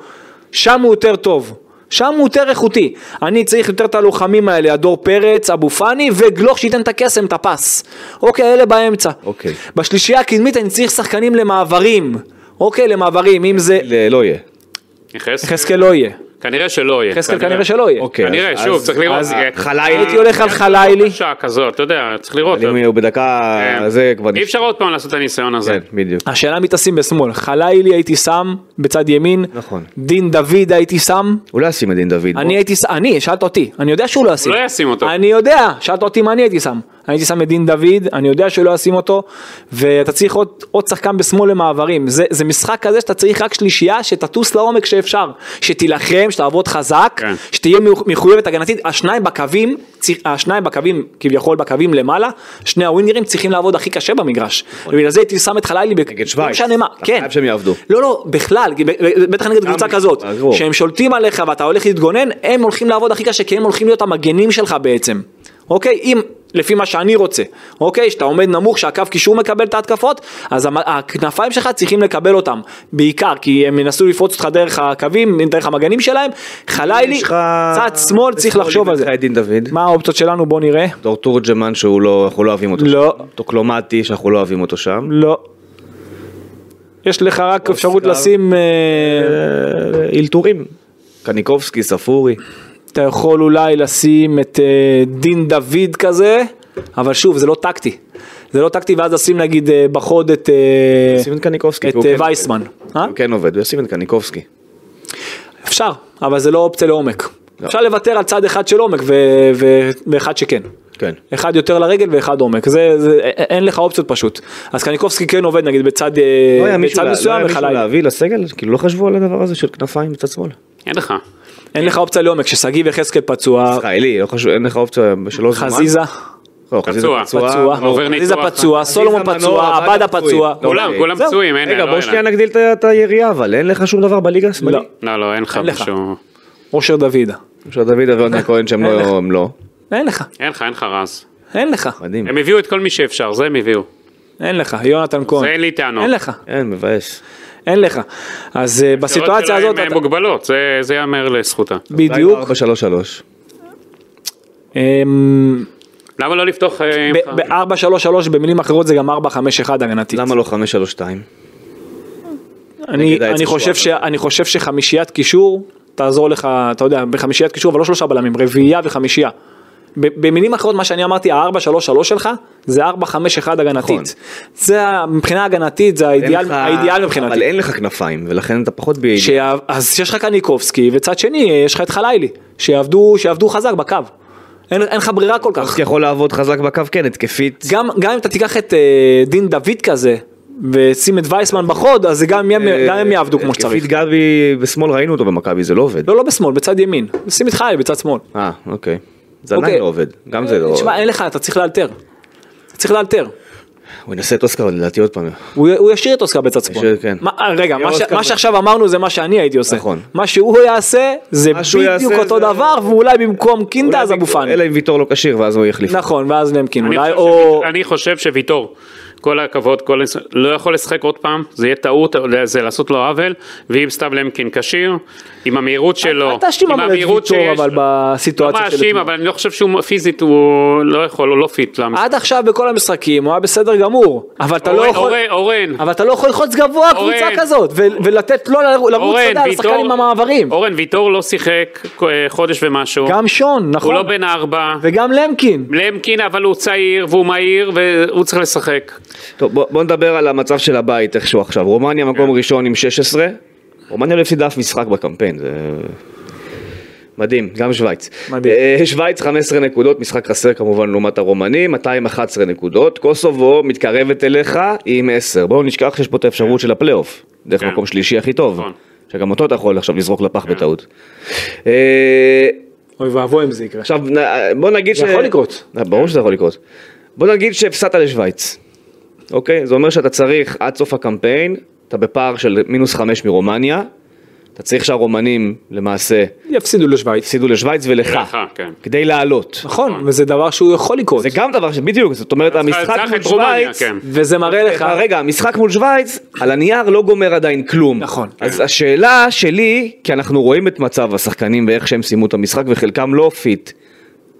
שם הוא יותר טוב. שם הוא יותר איכותי. אני צריך יותר את הלוחמים האלה, הדור פרץ, אבו פאני וגלוך שייתן את הקסם, את הפס. אוקיי, אלה באמצע. אוקיי. בשלישייה הקדמית אני צריך שחקנים אוקיי, למעברים. אוקיל, למעברים, אם זה... ל- לא יהיה. יחזקאל. יחזקאל לא יהיה. כנראה שלא יהיה. חזקאל כנראה שלא יהיה. אוקיי, כנראה, אז- שוב, אז- צריך לראות. אז אה, חלילי- הייתי הולך על חלילי. שעה כזאת, אתה יודע, צריך לראות. אבל אם הוא בדקה כן. זה כבר... אי אפשר עוד פעם לעשות את הניסיון הזה. כן, בדיוק. השאלה מי תשים בשמאל, חלילי הייתי שם בצד ימין, נכון. דין דוד הייתי שם, הוא לא ישים את דין דוד. אני הייתי, ש- אני, שאלת אותי, אני יודע שהוא לא ישים. לא ישים אותו. אני יודע, שאלת אותי מה אני הייתי שם. אני הייתי שם את דין דוד, אני יודע שהוא לא ישים אותו, ואתה צריך עוד, עוד שחקן בשמאל למעברים. זה, זה משחק כזה שאתה צריך רק שלישייה שתטוס לעומק שאפשר. שתילחם, שתעבוד חזק, כן. שתהיה מחו- מחויבת הגנתית. השניים בקווים, צי- השניים בקווים, כביכול בקווים למעלה, שני הווינגרים צריכים לעבוד הכי קשה במגרש. ובגלל זה הייתי שם את חלילי, ב- נכון. נגד שווייץ. לא משנה מה, אתה כן. חייב שהם יעבדו. לא, לא, בכלל, ב- ב- בטח נגד קבוצה כזאת, ברור. שהם שולטים עליך ואתה הולך להתגונן, הם הולכים לעבוד הכי קשה, כי הם הולכים להיות המגנים שלך בעצם. אוקיי? אם, לפי מה שאני רוצה, אוקיי? שאתה עומד נמוך, שהקו קישור מקבל את ההתקפות, אז המ- הכנפיים שלך צריכים לקבל אותם. בעיקר, כי הם ינסו לפרוץ אותך דרך הקווים, דרך המגנים שלהם. חלילי, יש לך- צד שמאל, צריך בשמאל לחשוב על זה. יש לך את דין דוד. מה האופציות שלנו? בוא נראה. דור תורג'מן שהוא לא, אנחנו לא אוהבים אותו לא. שם. טוקלומטי שאנחנו לא אוהבים אותו שם. לא. יש לך רק אפשרות אוסקר. לשים... אה, אה, אילתורים. קניקובסקי, ספורי. אתה יכול אולי לשים את אה, דין דוד כזה, אבל שוב, זה לא טקטי. זה לא טקטי, ואז לשים נגיד אה, בחוד את... אה, ישים את קניקובסקי. את והוא אה, כן- וייסמן. אה? הוא כן עובד, הוא ישים את קניקובסקי. אפשר, אבל זה לא אופציה לעומק. אפשר לוותר על צד אחד של עומק ו- ו- ואחד שכן. כן. אחד יותר לרגל ואחד עומק, זה, זה, א- א- אין לך אופציות פשוט. אז קניקובסקי כן עובד נגיד בצד, אה, לא היה מישהו בצד לה- לא מסוים היה מישהו וחלילה. להביא לסגל? כאילו לא חשבו על הדבר הזה של כנפיים בצד שמאל? אה. אין לך. אין לך אופציה לעומק, כששגיב יחזקאל פצוע, ישראלי, לא חשוב, אין לך אופציה שלא זומן? חזיזה לא, חזיזה פצוע. פצוע, עובר חזיזה ניתוח. פצוע, סולומון מנור, פצוע, עבדה עבדה פצועים. פצוע, לא, כולם, אוקיי. כולם זהו. פצועים, אין, רגע, לא, בוא אין. שנייה נגדיל את ה- את היריעה, אבל אין לך שום דבר בליגה השמאלית? לא. לא. לא, לא, אין לך אין לך. משהו. אושר דוידה. של דוד ויונתן כהן שהם אין לך. לא, הם לא. אין לך, אין לך, אין לך רז. אין לך, מדהים. הם הביאו את כל מי שאפשר, זה הם הביאו. אין לך, יונתן כהן. זה אין לי טענות. אין לך, אין, מבאס. אין לך. אז אה, בסיטואציה הזאת, הן אתה- מוגבלות, זה- זה ייאמר לזכותה. לא, בדיוק, 433. אמ, למה לא לפתוח... אה, עם ח- ב-4-3-3 במילים אחרות זה גם 4-5-1 הגנתית. למה לא 532? אני, נגד העץ אני, חושב השועל. ש, אני חושב שחמישיית קישור תעזור לך, אתה יודע, בחמישיית קישור, אבל לא שלושה בלמים, רביעייה וחמישייה. ב- במילים אחרות מה שאני אמרתי, ה-4-3-3 שלך זה 4-5-1 נכון. הגנתית. זה ה- מבחינה הגנתית, זה האידיאל, אין לך- האידיאל מבחינתי. אבל אין לך כנפיים, ולכן אתה פחות ביעיל. ש... אז יש לך קניקובסקי, וצד שני יש לך את חלילי, שיעבדו, שיעבדו חזק בקו. אין, אין לך ברירה כל כך. אתה יכול לעבוד חזק בקו, כן, התקפית. גם, גם אם אתה תיקח את אה, דין דוד כזה, ושים את וייסמן בחוד, אז זה גם, אה, יהיה- גם הם יעבדו כמו שצריך. התקפית גבי בשמאל ראינו אותו במכבי, זה לא עובד. לא, לא בשמאל, בצד ימין. שים את חלילי בצד שמאל. אה, אוקיי. זה אוקיי. עדיין לא עובד. גם זה לא... תשמע, אין לך, אתה צריך לאלתר. אתה צריך לאלתר. הוא ינסה את אוסקר לדעתי עוד פעם. הוא הוא ישאיר את אוסקר בצד שמאל. ישאיר, כן. מה- אה, רגע, מה ש- אוסקר מה ב- שעכשיו אמרנו זה מה שאני הייתי עושה. נכון. מה שהוא יעשה זה מה שהוא בדיוק יעשה אותו זה- דבר, ואולי במקום קינדה אולי אז אבו ויטור- פאני. אלא אם ויטור לא כשיר ואז הוא יחליף. נכון, ואז נמקין אני אולי, חושב או... שוויט- אני חושב שוויטור, כל הכבוד, כל... הס- לא יכול לשחק עוד פעם, זה יהיה טעות, אה, זה לעשות לו עוול, ואם סתיו למקין כשיר, עם המהירות שלו, אל תאשים כן, לא. עם אבל את המהירות ויטור, אבל לא בסיטואציה של... מאשים, אתמול. אבל אני לא חושב שהוא פיזית, הוא לא יכול, הוא לא פיט. למה? עד עכשיו בכל המשחקים הוא היה בסדר גמור, אבל אה, אתה לא אורן, יכול... אורן, אורן, אבל אתה לא יכול ללחוץ גבוה אורן. קבוצה כזאת, ו- ולתת לו לרוץ, אתה יודע, אורן, לשחקן עם המעברים. אורן ויטור לא שיחק אה, חודש ומשהו, גם שון, הוא נכון? לא בן ארבע, וגם למקין. למקין אבל הוא צעיר והוא מהיר והוא צריך לשחק. טוב, בוא, בוא נדבר על המצב של הבית איכשהו עכשיו. רומניה מקום כן. ראשון עם 16. רומניה לא הפסידה אף משחק בקמפיין, זה... מדהים, גם שווייץ. מדהים. אה, שווייץ 15 נקודות, משחק חסר כמובן לעומת הרומנים, 211 נקודות. קוסובו מתקרבת אליך עם 10. בואו נשכח שיש פה את האפשרות של הפלייאוף, דרך כן. מקום שלישי הכי טוב. נכון. כן. שגם אותו אתה יכול עכשיו לזרוק לפח בטעות. אה, אוי ואבוי אם זה יקרה. עכשיו נ- אה, בוא נגיד זה יכול לקרות. אה, ברור שזה יכול לקרות. בוא נגיד שהפסדת לשוויץ. אוקיי? זה אומר שאתה צריך עד סוף הקמפיין, אתה בפער של מינוס חמש מרומניה, אתה צריך שהרומנים למעשה יפסידו לשוויץ. הפסידו לשוויץ ולך, לך, כן. כדי לעלות. נכון, וזה דבר שהוא יכול לקרות. זה גם דבר ש... בדיוק, זאת אומרת המשחק צריך מול את רומניה, שוויץ... כן. וזה מראה לך... אה, רגע, המשחק מול שווייץ, על הנייר לא גומר עדיין כלום. נכון. אז השאלה שלי, כי אנחנו רואים את מצב השחקנים ואיך שהם סיימו את המשחק, וחלקם לא פיט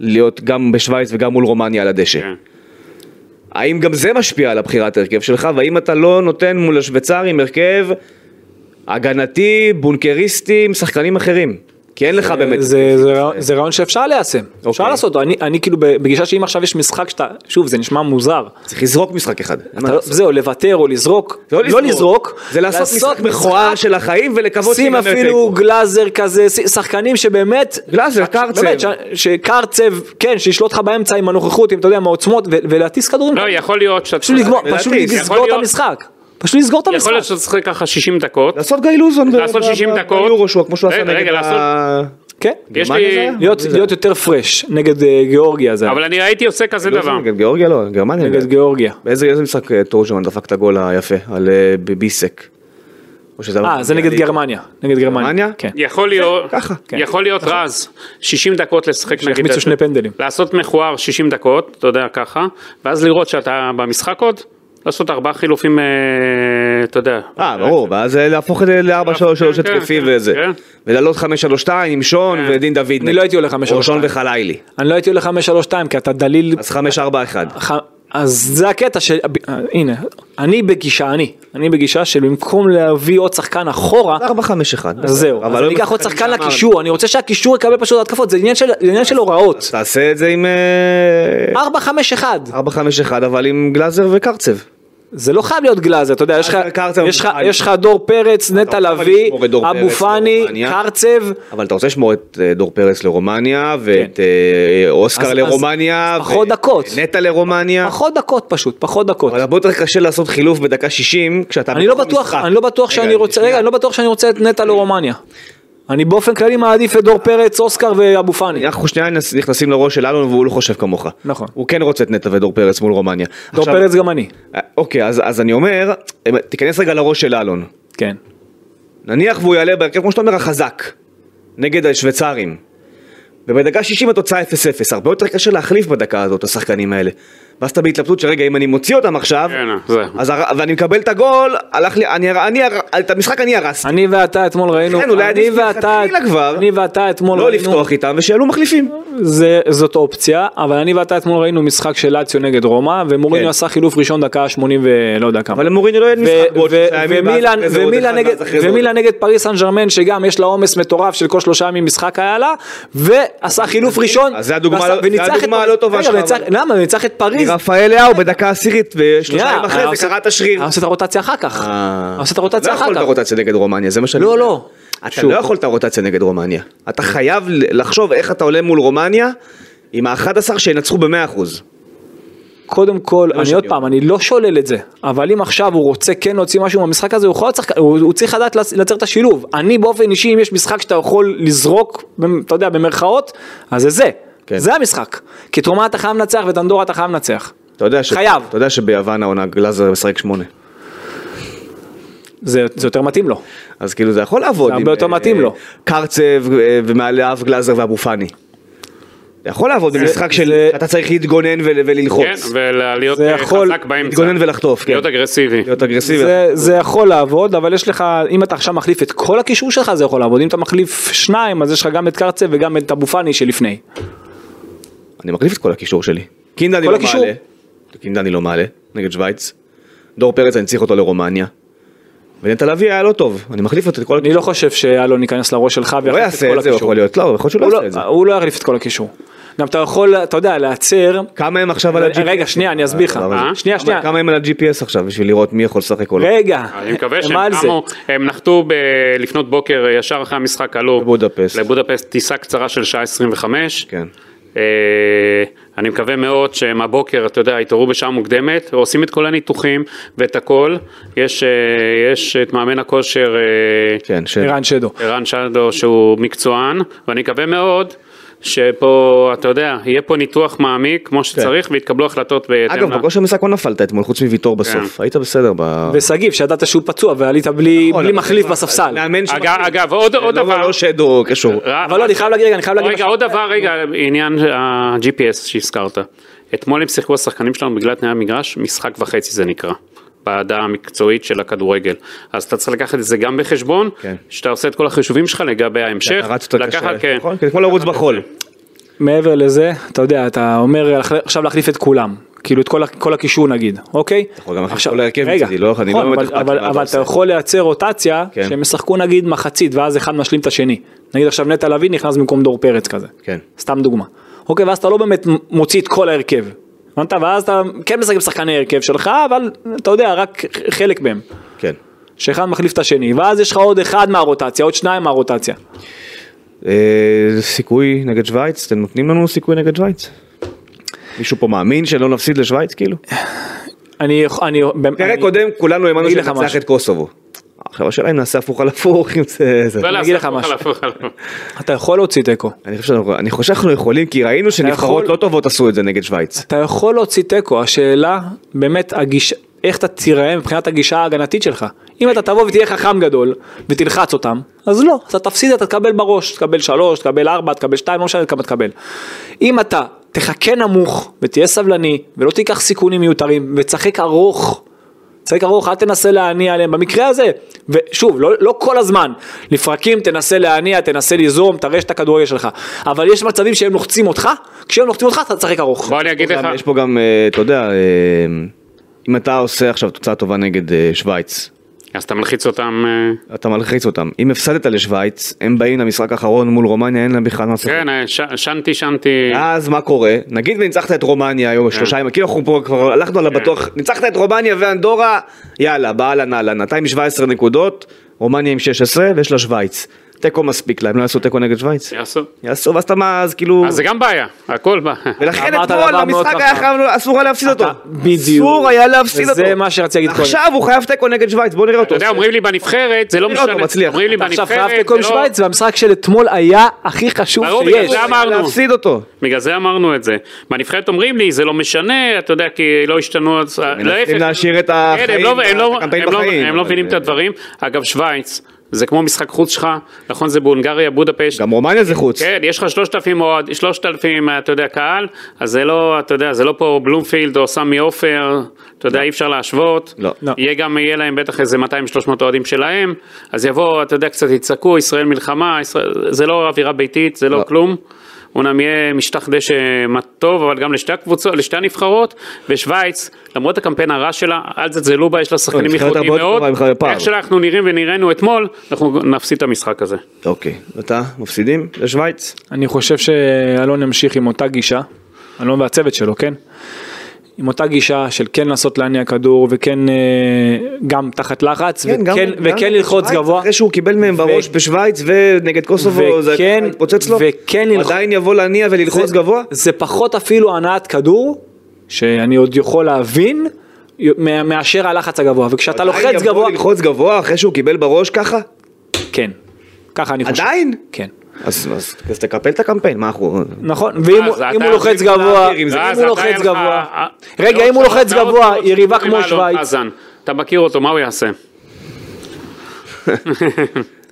להיות גם בשווייץ וגם מול רומניה על הדשא. כן. האם גם זה משפיע על הבחירת ההרכב שלך, והאם אתה לא נותן מול השוויצרים הרכב הגנתי, בונקריסטי, עם שחקנים אחרים? כי אין לך באמת... אה, זה, זה, רעיון- זה רעיון שאפשר ליישם, אפשר אוקיי. לעשות אותו, אני, אני כאילו בגישה שאם עכשיו יש משחק שאתה, שוב זה נשמע מוזר, צריך לזרוק משחק אחד. אין מה אתה- לא- לעשות. זהו לוותר או לזרוק, לא לזרוק, זה לעשות משחק מכוער של החיים ולקוות שים שיגמר אפילו תיקו. גלאזר כזה, ש- שחקנים שבאמת, גלאזר, קרצב. באמת, ש- שקרצב, כן, שישלוט לך באמצע עם הנוכחות, עם, אתה יודע, עם העוצמות, ו- ולהטיס כדורים, לא, יכול להיות שאתה... פשוט לגמור, ולהטיס. פשוט יכול לסגור את להיות- המשחק, פשוט לסגור את יכול המשחק. להיות שאתה צריך ככה 60 דקות. לעשות גיא לוזון. ב- לעשות ב- 60 ב- דקות. ביורו שהוא כמו שהוא עשה רגע, נגד רגע, לעשות- ה... כן, יש גרמניה לי- זה היה? להיות מי זה להיות יותר פרש נגד אה, גיאורגיה זה היה, אבל אני הייתי עושה כזה היה? דבר. נגד גיאורגיה לא, גרמניה. נגד גיאורגיה. באיזה איזה משחק אה, תורג'מן דפק את הגול היפה על אה, ביביסק. או שזה אה, זה נגד גרמניה, נגד גרמניה, גרמניה? כן. יכול להיות, ככה, כן. יכול להיות רז, 60 דקות לשחק נגיד, שיחמיצו שני פנדלים. לעשות מכוער 60 דקות, אתה יודע ככה, ואז לראות שאתה במשחק עוד, לעשות ארבעה חילופים, אה, אתה יודע, אה, ברור, ואז אה, להפוך את זה ל-4-3-3 כן, כן, התקפי כן, וזה. כן. ולעלות 5-3-2 עם שון ודין דוד. אני לא הייתי הולך 5-3-2. שון וחלילי. אני לא הייתי הולך 5-3-2 כי אתה דליל, אז 5-4-1. ח- אז זה הקטע של, אה, הנה, אני בגישה, אני, אני בגישה שבמקום להביא עוד שחקן אחורה, 4-5-1. אז זהו, אבל אז לא אני אקח עוד משחק שחקן שאמרנו. לקישור, אני רוצה שהקישור יקבל פשוט התקפות, זה עניין של- זה עניין של הוראות, אז תעשה את זה עם... אה, 4-5-1, 4-5-1 אבל עם גלאזר וקרצב. זה לא חייב להיות גלאזר, אתה יודע, יש לך- אבל קרצב יש לך- מוכן. יש לך דור פרץ, נטע רוצה אבל לביא, לשמור את דור אבו פרץ לא פאני, לרומניה. קרצב, אבל אתה רוצה לשמור את אה, דור פרץ לרומניה, ואת אה, כן. אז- אוסקר אז- לרומניה, אז פחות ו- דקות. נטע לרומניה. פחות דקות פשוט, פחות דקות. אבל הרבה יותר קשה לעשות חילוף בדקה 60 כשאתה אני לא בתוך בטוח, המשחק. אני לא בטוח שאני רוצה, שנייה. רגע, אני לא בטוח שאני רוצה את נטע לרומניה. אני באופן כללי מעדיף את דור פרץ, אוסקר ואבו פאני. אנחנו שנייה נכנס- נכנסים לראש של אלון והוא לא חושב כמוך. נכון. הוא כן רוצה את נטע ודור פרץ מול רומניה. דור עכשיו- פרץ גם אני. אה, אוקיי, אז אז אני אומר, אה, תיכנס רגע לראש של אלון. כן. נניח והוא יעלה בהרכב, כמו שאתה אומר, החזק, נגד השוויצרים. ובדקה 60 התוצאה 0-0, הרבה יותר קשה להחליף בדקה הזאת, השחקנים האלה. ואז אתה בהתלבטות שרגע, אם אני מוציא אותם עכשיו, כן, זהו. אז, הר- ואני מקבל את הגול, הלך לי, אני, הר- אני, הר- את המשחק אני הרסתי. אני ואתה אתמול ראינו, לכן כן, אולי אני עדיף ואתה, מלכתחילה כבר, אני ואתה אתמול לא ראינו, לפתוח איתם ושיעלו מחליפים. זה- זאת אופציה, אבל אני ואתה אתמול ראינו משחק של לאציו נגד רומא, כן. ומוריניו עשה חילוף ראשון דקה 80 ולא יודע כמה. אבל למוריני לא יהיה ו- משחק בעוד ו- שלושה ימים, ואז ומילן- אחרי זה עוד ומילן אחד, נגד- ואז אחרי זה עוד ומילן נגד פריס סן ג'רמן שגם יש לה עומס מטורף של כל שלושה ימים משחק היה לה ועשה חילוף ראשון אז זה הדוגמה ועשה- לא- זה וניצח את הדוגמה פריז. הלא טובה רגע, שלך, וניצח- אבל- למה ניצח את פריז. רפאל לאהו בדקה עשירית, ושלושה שנייה, ימים היה אחרי זה עושה- קרע את השריר. היה אה, עושה את הרוטציה אחר כך. היה עושה את הרוטציה לא אחר יכול את כך. הרוטציה נגד רומניה, זה מה שאני לא, אומר. לא. אתה שוב. לא יכול את הרוטציה נגד רומניה. אתה חייב לחשוב איך אתה עולה מול רומניה עם ה-11 שינצחו ב-100%. קודם כל, אני שאני עוד פעם, אני לא שולל את זה, אבל אם עכשיו הוא רוצה כן להוציא משהו מהמשחק הזה, הוא, יכול לצחק, הוא, הוא צריך לדעת לצ- לייצר את השילוב. אני באופן אישי, אם יש משחק שאתה יכול לזרוק, במ- אתה יודע, במרכאות, אז זה זה. כן. זה המשחק. כי תרומה אתה חייב לנצח ואת אנדורה אתה חייב לנצח. אתה יודע ש- חייב. אתה יודע שביוון העונה גלאזר משחק שמונה. זה, זה יותר מתאים לו. אז כאילו זה יכול לעבוד. זה הרבה עם, יותר אה, מתאים לו. קרצב אה, ומעליו גלאזר ואבו פאני. זה יכול לעבוד במשחק של זה- אתה צריך להתגונן ול- כן, וללחוץ. ולהיות זה אה, יכול חזק באמצע, להתגונן ולחטוף. כן. להיות אגרסיבי. להיות אגרסיבי. זה, זה יכול לעבוד, אבל יש לך, אם אתה עכשיו מחליף את כל הקישור שלך, זה יכול לעבוד. אם אתה מחליף שניים, אז יש לך גם את קרצב וגם את אבו פאני שלפני. אני מחליף את כל הקישור שלי. קינדה אני כל לא הקישור? מעלה. קינדה אני לא מעלה, נגד שווייץ. דור פרץ אני צריך אותו לרומניה. ונטע לביא היה לא טוב, אני מחליף אותו את כל אני הקישור. לא חושב שאלון ייכנס לראש שלך הוא לא ויחליף את יעשה כל את זה, הוא הקישור. יכול להיות, לא, יכול להיות שהוא הוא לא לא- יעשה את זה. הוא לא יחליף את כל הקישור. גם אתה יכול, אתה יודע, להצר. כמה הם עכשיו על ה-GPS? רגע, שנייה, אני אסביר לך. אבל- אה? שנייה, כמה- שנייה. כמה הם על ה-GPS עכשיו בשביל לראות מי יכול לשחק או לא? רגע, אני מקווה מה על שהם זה? קמו, הם נחתו ב- לפנות בוקר אה, ישר אחרי המשחק, עלו לבודפשט. לבודפסט טיסה קצרה של שעה 25. כן. אה, אני מקווה מאוד שהם הבוקר, אתה יודע, יתעוררו בשעה מוקדמת, עושים את כל הניתוחים ואת הכל. יש, אה, יש את מאמן הכושר אה, כן, ש... ערן שדו. ערן שלדו שהוא מקצוען, ואני מקווה מאוד שפה, אתה יודע, יהיה פה ניתוח מעמיק כמו כן. שצריך ויתקבלו החלטות בהתאם. אגב, ל- בכושר המשחק לא נפלת אתמול, חוץ מוויטור בסוף. היית בסדר ב... ושגיב, שידעת שהוא פצוע ועלית בלי נכון, בלי אבל- מחליף בספסל. מאמן אגב, אגב, עוד- עוד לא- דבר. לא שדו קשור. ר- אבל לא, אני חייב להגיד, רגע, אני חייב להגיד... רגע, משהו. עוד דבר, רגע, עניין אה, ה-GPS שהזכרת. אתמול הם שיחקו השחקנים שלנו בגלל תנאי המגרש, משחק וחצי זה נקרא. בעדה המקצועית של הכדורגל. אז אתה צריך לקחת את זה גם בחשבון, כן. שאתה עושה את כל החישובים שלך לגבי ההמשך. אתה רצת לקחת, קשה, כן. נכון? כי זה כמו לרוץ בחול. מעבר לזה, אתה יודע, אתה אומר "על- עכשיו להחליף את כולם. כאילו את כל ה- כל הקישור נגיד, אוקיי? אתה יכול גם להכניס אותו להרכב מצדי, לא? אני לא נכון, באמת אבל- אכפת לי אבל- מה אתה אבל עושה. אתה יכול לייצר רוטציה, כן. שהם ישחקו נגיד מחצית, ואז אחד משלים את השני. נגיד עכשיו נטע לביא נכנס במקום דור פרץ כזה. כן. סתם דוגמה. אוקיי, ואז אתה לא באמת מוציא את כל ההרכב. הבנת? ואז אתה כן משחק עם שחקני ההרכב שלך, אבל אתה יודע, רק חלק מהם. כן. שאחד מחליף את השני, ואז יש לך עוד אחד מהרוטציה, עוד שניים מהרוטציה. אה, סיכוי נגד שווייץ? אתם נותנים לנו סיכוי נגד שווייץ? מישהו פה מאמין שלא נפסיד לשווייץ כאילו? אני, אני, פרק אני- קודם כולנו האמנו אני אגיד לך שננצח משהו. את קוסובו. עכשיו השאלה אם נעשה הפוך על הפוך, אם זה... זה- לא אני לעשות אגיד לך הפוך על משהו. הפוך על הפוך. אתה יכול להוציא תיקו. אני חושב שאנחנו- אני חושב שאנחנו יכולים כי ראינו שנבחרות יכול- לא טובות עשו את זה נגד שווייץ. אתה יכול להוציא תיקו, השאלה באמת הגישה, איך אתה תיראה מבחינת הגישה ההגנתית שלך. אם אתה תבוא ותהיה חכם גדול ותלחץ אותם, אז לא, אז אתה תפסיד, אתה תקבל בראש, תקבל שלוש, תקבל ארבע, תקבל שתיים, לא משנה כמה תקבל. אם אתה תחכה נמוך ותהיה סבלני ולא תיקח סיכונים מיותרים ותשחק ארוך, תשחק ארוך, אל תנסה להניע עליהם במקרה הזה. ושוב, לא, לא כל הזמן. לפרקים תנסה להניע, תנסה ליזום, תראה את הכדורגל שלך. אבל יש מצבים שהם לוחצים אותך, כשהם לוחצים אותך אתה תשחק ארוך. בוא אני אגיד לך, גם- יש פה גם, אה, אתה יודע, אה, אם אתה עושה עכשיו תוצאה טובה נגד אה, שווייץ, אז אתה מלחיץ אותם, אה, אתה מלחיץ אותם. אם הפסדת לשוויץ, הם באים למשחק האחרון מול רומניה, אין להם בכלל מה לעשות. כן, אה, ש- שנתי שנתי, אז מה קורה? נגיד וניצחת את רומניה היום כן. שלושה ימים, כאילו אנחנו פה כבר הלכנו על הבטוח, ניצחת את רומניה ואנדורה, יאללה, באהלן אהלן, אתה עם 17 נקודות, רומניה עם 16 ויש לה שווייץ. תיקו מספיק להם, לא יעשו תיקו נגד שווייץ? כן. יעשו. יעשו, ואז אתה מה, אז כאילו... אז זה גם בעיה, הכל בעיה. ולכן אמרת אתמול דבר מאוד המשחק היה חכם. חייב, אסור היה להפסיד אותו. אתה- בדיוק. אסור היה להפסיד אותו. וזה מה שרציתי להגיד קודם. עכשיו הוא חייב תיקו נגד שווייץ, בוא נראה אתה אותו. יודע, אומרים לי בנבחרת, זה לא נראה אותו משנה, מצליח. אומרים לי אתה עכשיו חייב בנבחרת, תיקו עם זה לא- שווייץ, והמשחק של אתמול היה הכי חשוב ברור, בגלל שיש. זה הוא חייב אמרנו. להפסיד אותו. בגלל זה אמרנו את זה. בנבחרת אומרים לי, זה לא משנה, אתה יודע, כי לא השתנו... אז- להפך. להשאיר את כן, החיים, הם לא- הם לא- הקמפיין הם לא- בחיים, הם לא אבל- מבינים את הדברים. אגב, שווייץ, זה כמו משחק חוץ שלך, נכון, זה בהונגריה, בודפשט. גם רומניה זה חוץ. כן, יש לך 3,000 אוהד, 3,000, אתה יודע, קהל, אז זה לא, אתה יודע, זה לא פה בלומפילד או סמי עופר, אתה יודע, אי אפשר להשוות. לא. לא. יהיה גם, יהיה להם בטח איזה 200-300 אוהדים שלהם, אז יבואו, אתה יודע, קצת יצעקו, ישראל מלחמה, ישראל, זה לא אווירה ביתית, זה לא, לא. כלום. אומנם יהיה משטח דשא טוב, אבל גם לשתי הקבוצות, לשתי הנבחרות, ושווייץ, למרות הקמפיין הרע שלה, אל תזלזלו בה, יש לה שחקנים נבחרת איכותיים הרבה יותר מאוד, טובה, בכלל בפער. איך שאנחנו נראים ונראינו אתמול, אנחנו נפסיד את המשחק הזה. אוקיי, אתה מפסידים לשוויץ? אני חושב שאלון ימשיך עם אותה גישה, אלון והצוות שלו, כן? עם אותה גישה של כן לנסות להניע כדור וכן אה, גם תחת לחץ כן, וכן, וכן ללחוץ בשוויץ, גבוה. אחרי שהוא קיבל מהם בראש בשוויץ ונגד קוסובו, זה וכן- התפוצץ לו, וכן הוא ללחוץ- עדיין יבוא להניע וללחוץ זה- גבוה? זה פחות אפילו הנעת כדור, שאני עוד יכול להבין, מא- מאשר הלחץ הגבוה. וכשאתה עדיין לוחץ יבוא גבוה, ללחוץ גבוה אחרי שהוא קיבל בראש ככה? כן. ככה אני חושב. עדיין? כן. אז אז- אז תקפל את הקמפיין, מה אנחנו... נכון, ואם אז הוא- אה, אתה אם הוא יכול לוחץ להעביר גבוה, עם אם זה. ואז הוא אתה אין לוחץ לך- גבוה, אה, רגע, לא, אם הוא שלוש לוחץ שעות, גבוה, שלוש יריבה שעות כמו עם אלון שווייץ, לא, חזן. אתה מכיר אותו, מה הוא יעשה?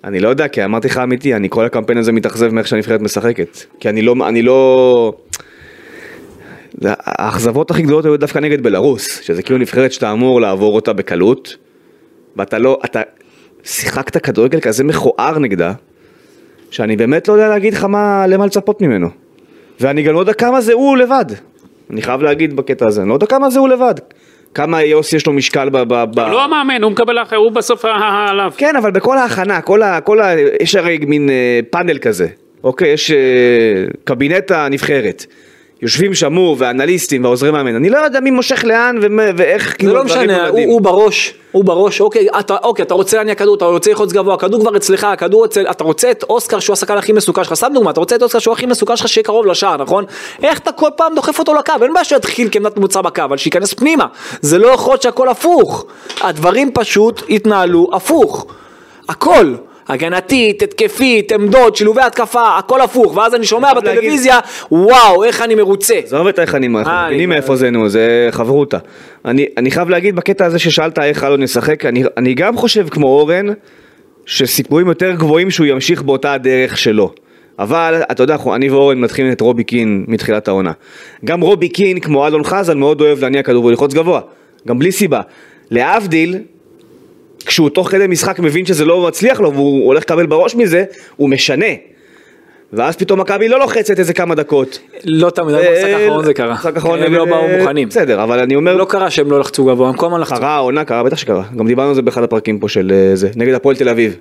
אני לא יודע, כי אמרתי לך אמיתי, אני כל הקמפיין הזה מתאכזב מאיך שהנבחרת משחקת. כי אני לא... אני לא... זה- האכזבות הכי גדולות היו דווקא נגד בלארוס, שזה כאילו נבחרת שאתה אמור לעבור אותה בקלות, ואתה לא... אתה שיחקת כדורגל כזה מכוער נגדה, שאני באמת לא יודע להגיד לך מה... למה לצפות ממנו. ואני גם לא יודע כמה זה הוא לבד. אני חייב להגיד בקטע הזה, אני לא יודע כמה זה הוא לבד. כמה יוסי יש לו משקל ב... ב, ב... אה. לא המאמן, הוא מקבל אחר, הוא בסוף ה- ה- עליו. כן, אבל בכל ההכנה, כל ה... כל ה... יש הרי מין אה, פאנל כזה, אוקיי? יש אה, קבינט הנבחרת. יושבים שם הוא ואנליסטים ועוזרי מאמן. אני לא יודע מי מושך לאן ומה, ואיך זה כאילו לא הדברים משנה, הוא נולדים. הוא בראש, הוא בראש, אוקיי, אתה- אוקיי, אתה רוצה להניע כדור, אתה רוצה לחוץ גבוה, הכדור כבר אצלך, הכדור אצל, אתה רוצה את אוסקר שהוא השחקן הכי מסוכן שלך, סתם דוגמא, אתה רוצה את אוסקר שהוא הכי מסוכן שלך שיהיה קרוב לשער, נכון? איך אתה כל פעם דוחף אותו לקו, אין בעיה שיתחיל כעמדת מוצא בקו, אבל שייכנס פנימה, זה לא יכול להיות שהכל הפוך, הדברים פשוט התנהלו הפוך, הכל. הגנתית, התקפית, עמדות, שילובי התקפה, הכל הפוך, ואז אני שומע חייב להגיד- בטלוויזיה, וואו, איך אני מרוצה. עזוב את איך אני אנחנו אה, מבינים אני- מאיפה זה נו, זה חברותה. אני, אני חייב להגיד בקטע הזה ששאלת איך אלון ישחק, אני, אני גם חושב כמו אורן, שסיכויים יותר גבוהים שהוא ימשיך באותה הדרך שלו. אבל, אתה יודע, אנחנו- אני ואורן מתחילים את רובי קין מתחילת העונה. גם רובי קין, כמו אלון חזן, מאוד אוהב להניע כדור ולחוץ גבוה. גם בלי סיבה. להבדיל, כשהוא תוך כדי משחק מבין שזה לא מצליח לו והוא הולך לקבל בראש מזה, הוא משנה. ואז פתאום מכבי לא לוחצת איזה כמה דקות. לא תמיד, אבל במשחק האחרון זה קרה. במשחק אה, האחרון אה, הם לא באו מוכנים. בסדר, אבל אני אומר, לא קרה שהם לא לחצו גבוה, הם כל הזמן לחצו. קרה העונה, קרה, בטח שקרה. גם דיברנו על זה באחד הפרקים פה של אה, זה, נגד הפועל תל אביב.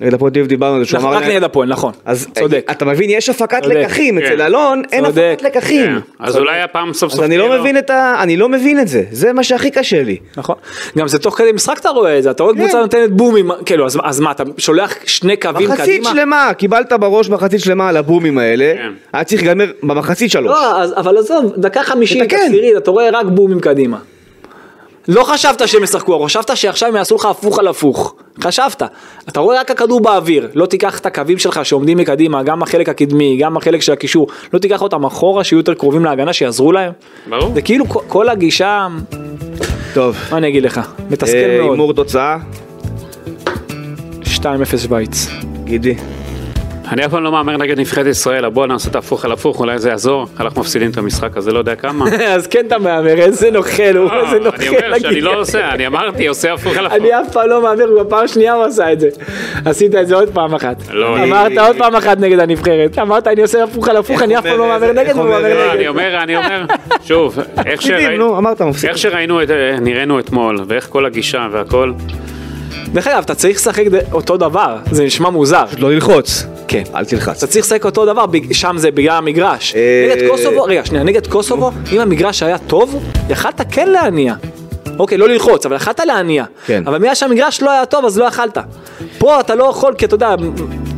נגד הפועל תל אביב דיברנו על זה, שהוא נכון, אמר... רק להם- נגד הפועל, נכון. אה, אז אה, צודק. אתה מבין, יש הפקת צודק. לקחים, כן. אצל אלון אין צודק. הפקת כן. לקחים. אז אולי הפעם סוף אז סוף... אני יהיה לא לו- מבין את ה... אני לא מבין את זה, זה מה שהכי קשה לי. נכון. גם זה תוך כדי משחק אתה רואה את זה, כן. אתה רואה קבוצה נותנת בומים, כאילו, אז- אז מה, אתה שולח שני קווים מחצית קדימה? שלמה, קיבלת בראש מחצית שלמה על הבומים האלה, כן. היה צריך להיגמר במחצית שלוש. לא, אז- אבל עזוב, דקה חמישית, תתקן. עשירית, אתה רואה רק בומים קדימה. לא חשבת שהם ישחקו, אבל חשבת שעכשיו הם יעשו לך הפוך על הפוך. חשבת. אתה רואה רק הכדור באוויר, לא תיקח את הקווים שלך שעומדים מקדימה, גם החלק הקדמי, גם החלק של הקישור, לא תיקח אותם אחורה, שיהיו יותר קרובים להגנה, שיעזרו להם. ברור. זה כאילו כל- כל הגישה, טוב, מה אני אגיד לך, אה, מתסכל מאוד. הימור תוצאה, 2-0 שווייץ. גידי. כן, אני אף פעם לא מהמר נגד נבחרת ישראל, אבל בוא נעשה את ההפוך על הפוך, אולי זה יעזור. אנחנו מפסידים את המשחק הזה, לא יודע כמה. אז כן אתה מהמר, איזה נוכל, הוא אה, איזה נוכל. אני אומר שאני להגיד. לא עושה, אני אמרתי, עושה הפוך על הפוך. אה, אני אף פעם לא מהמר, כבר פעם שנייה הוא עשה את זה. עשית את זה עוד פעם אחת. לא, אני- אמרת עוד פעם אחת נגד הנבחרת. אמרת אני עושה הפוך על הפוך, אני אף פעם לא אומר, מהמר איך נגד, והוא אומר, מהמר אה, לא, נגד. אני אומר, אני אומר, שוב, איך מפסידים, שראינו... נו, אמרת מפסיד. איך שראינו את, אה, נראינו אתמול, ואיך כל הגישה והכל, דרך אגב, אתה צריך לשחק ד- אותו דבר, זה נשמע מוזר. לא ללחוץ. כן. אל תלחץ. אתה צריך לשחק אותו דבר, בג- שם זה בגלל המגרש. אה, נגד קוסובו, רגע, שנייה, נגד קוסובו, אם המגרש היה טוב, יכלת כן להניע. אוקיי, לא ללחוץ, אבל יכלת להניע. כן. אבל בגלל שהמגרש לא היה טוב, אז לא יכלת. פה אתה לא יכול, כי אתה יודע,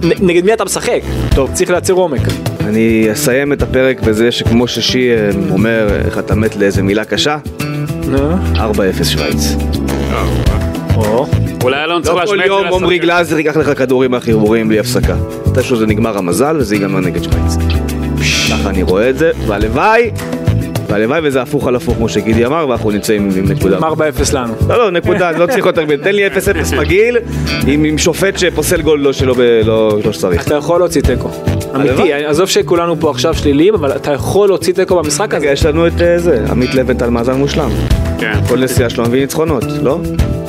נ- נגד מי אתה משחק. טוב. צריך לייצר עומק. אני אסיים את הפרק בזה שכמו ששי אה, אומר, איך אתה מת לאיזה מילה קשה, נו. 4-0 שווייץ. אולי אלון צריך לא להשמיע כל את זה. יום לעשות- עמרי גלאזר ייקח לך כדורים מהחיבורים בלי הפסקה. מתישהו זה נגמר המזל וזה ייגמר נגד שווייץ. ככה אני רואה את זה, והלוואי, והלוואי וזה הפוך על הפוך כמו שגידי אמר, ואנחנו נמצאים עם נקודה. 4-0 לנו. לא, לא, נקודה, לא צריך יותר מזה. תן לי 0-0 מגעיל, עם עם שופט שפוסל גול לא שלא ב- לא- לא שצריך. אתה יכול להוציא תיקו. אמיתי, הלוואי. עזוב שכולנו פה עכשיו שליליים, אבל אתה יכול להוציא תיקו במשחק רגע, הזה. יש לנו את אה, זה, עמית לבנטל מאזן מושלם. כן. כל נסיעה שלו מביא ניצחונות, לא?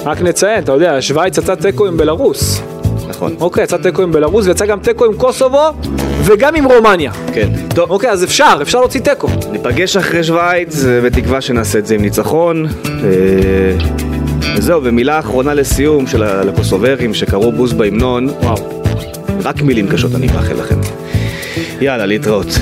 רק נציין, אתה יודע, שווייץ יצא תיקו עם בלרוס. נכון. אוקיי, יצא תיקו עם בלרוס, ויצא גם תיקו עם קוסובו, וגם עם רומניה. כן. טוב, אוקיי, אז אפשר, אפשר להוציא תיקו. ניפגש אחרי שווייץ, אה, בתקווה שנעשה את זה עם ניצחון. אה, וזהו, ומילה אחרונה לסיום של הקוסוברים שקראו בוז בהמנון. וואו. רק מילים קשות אני מאחל לכם. יאללה, להתראות.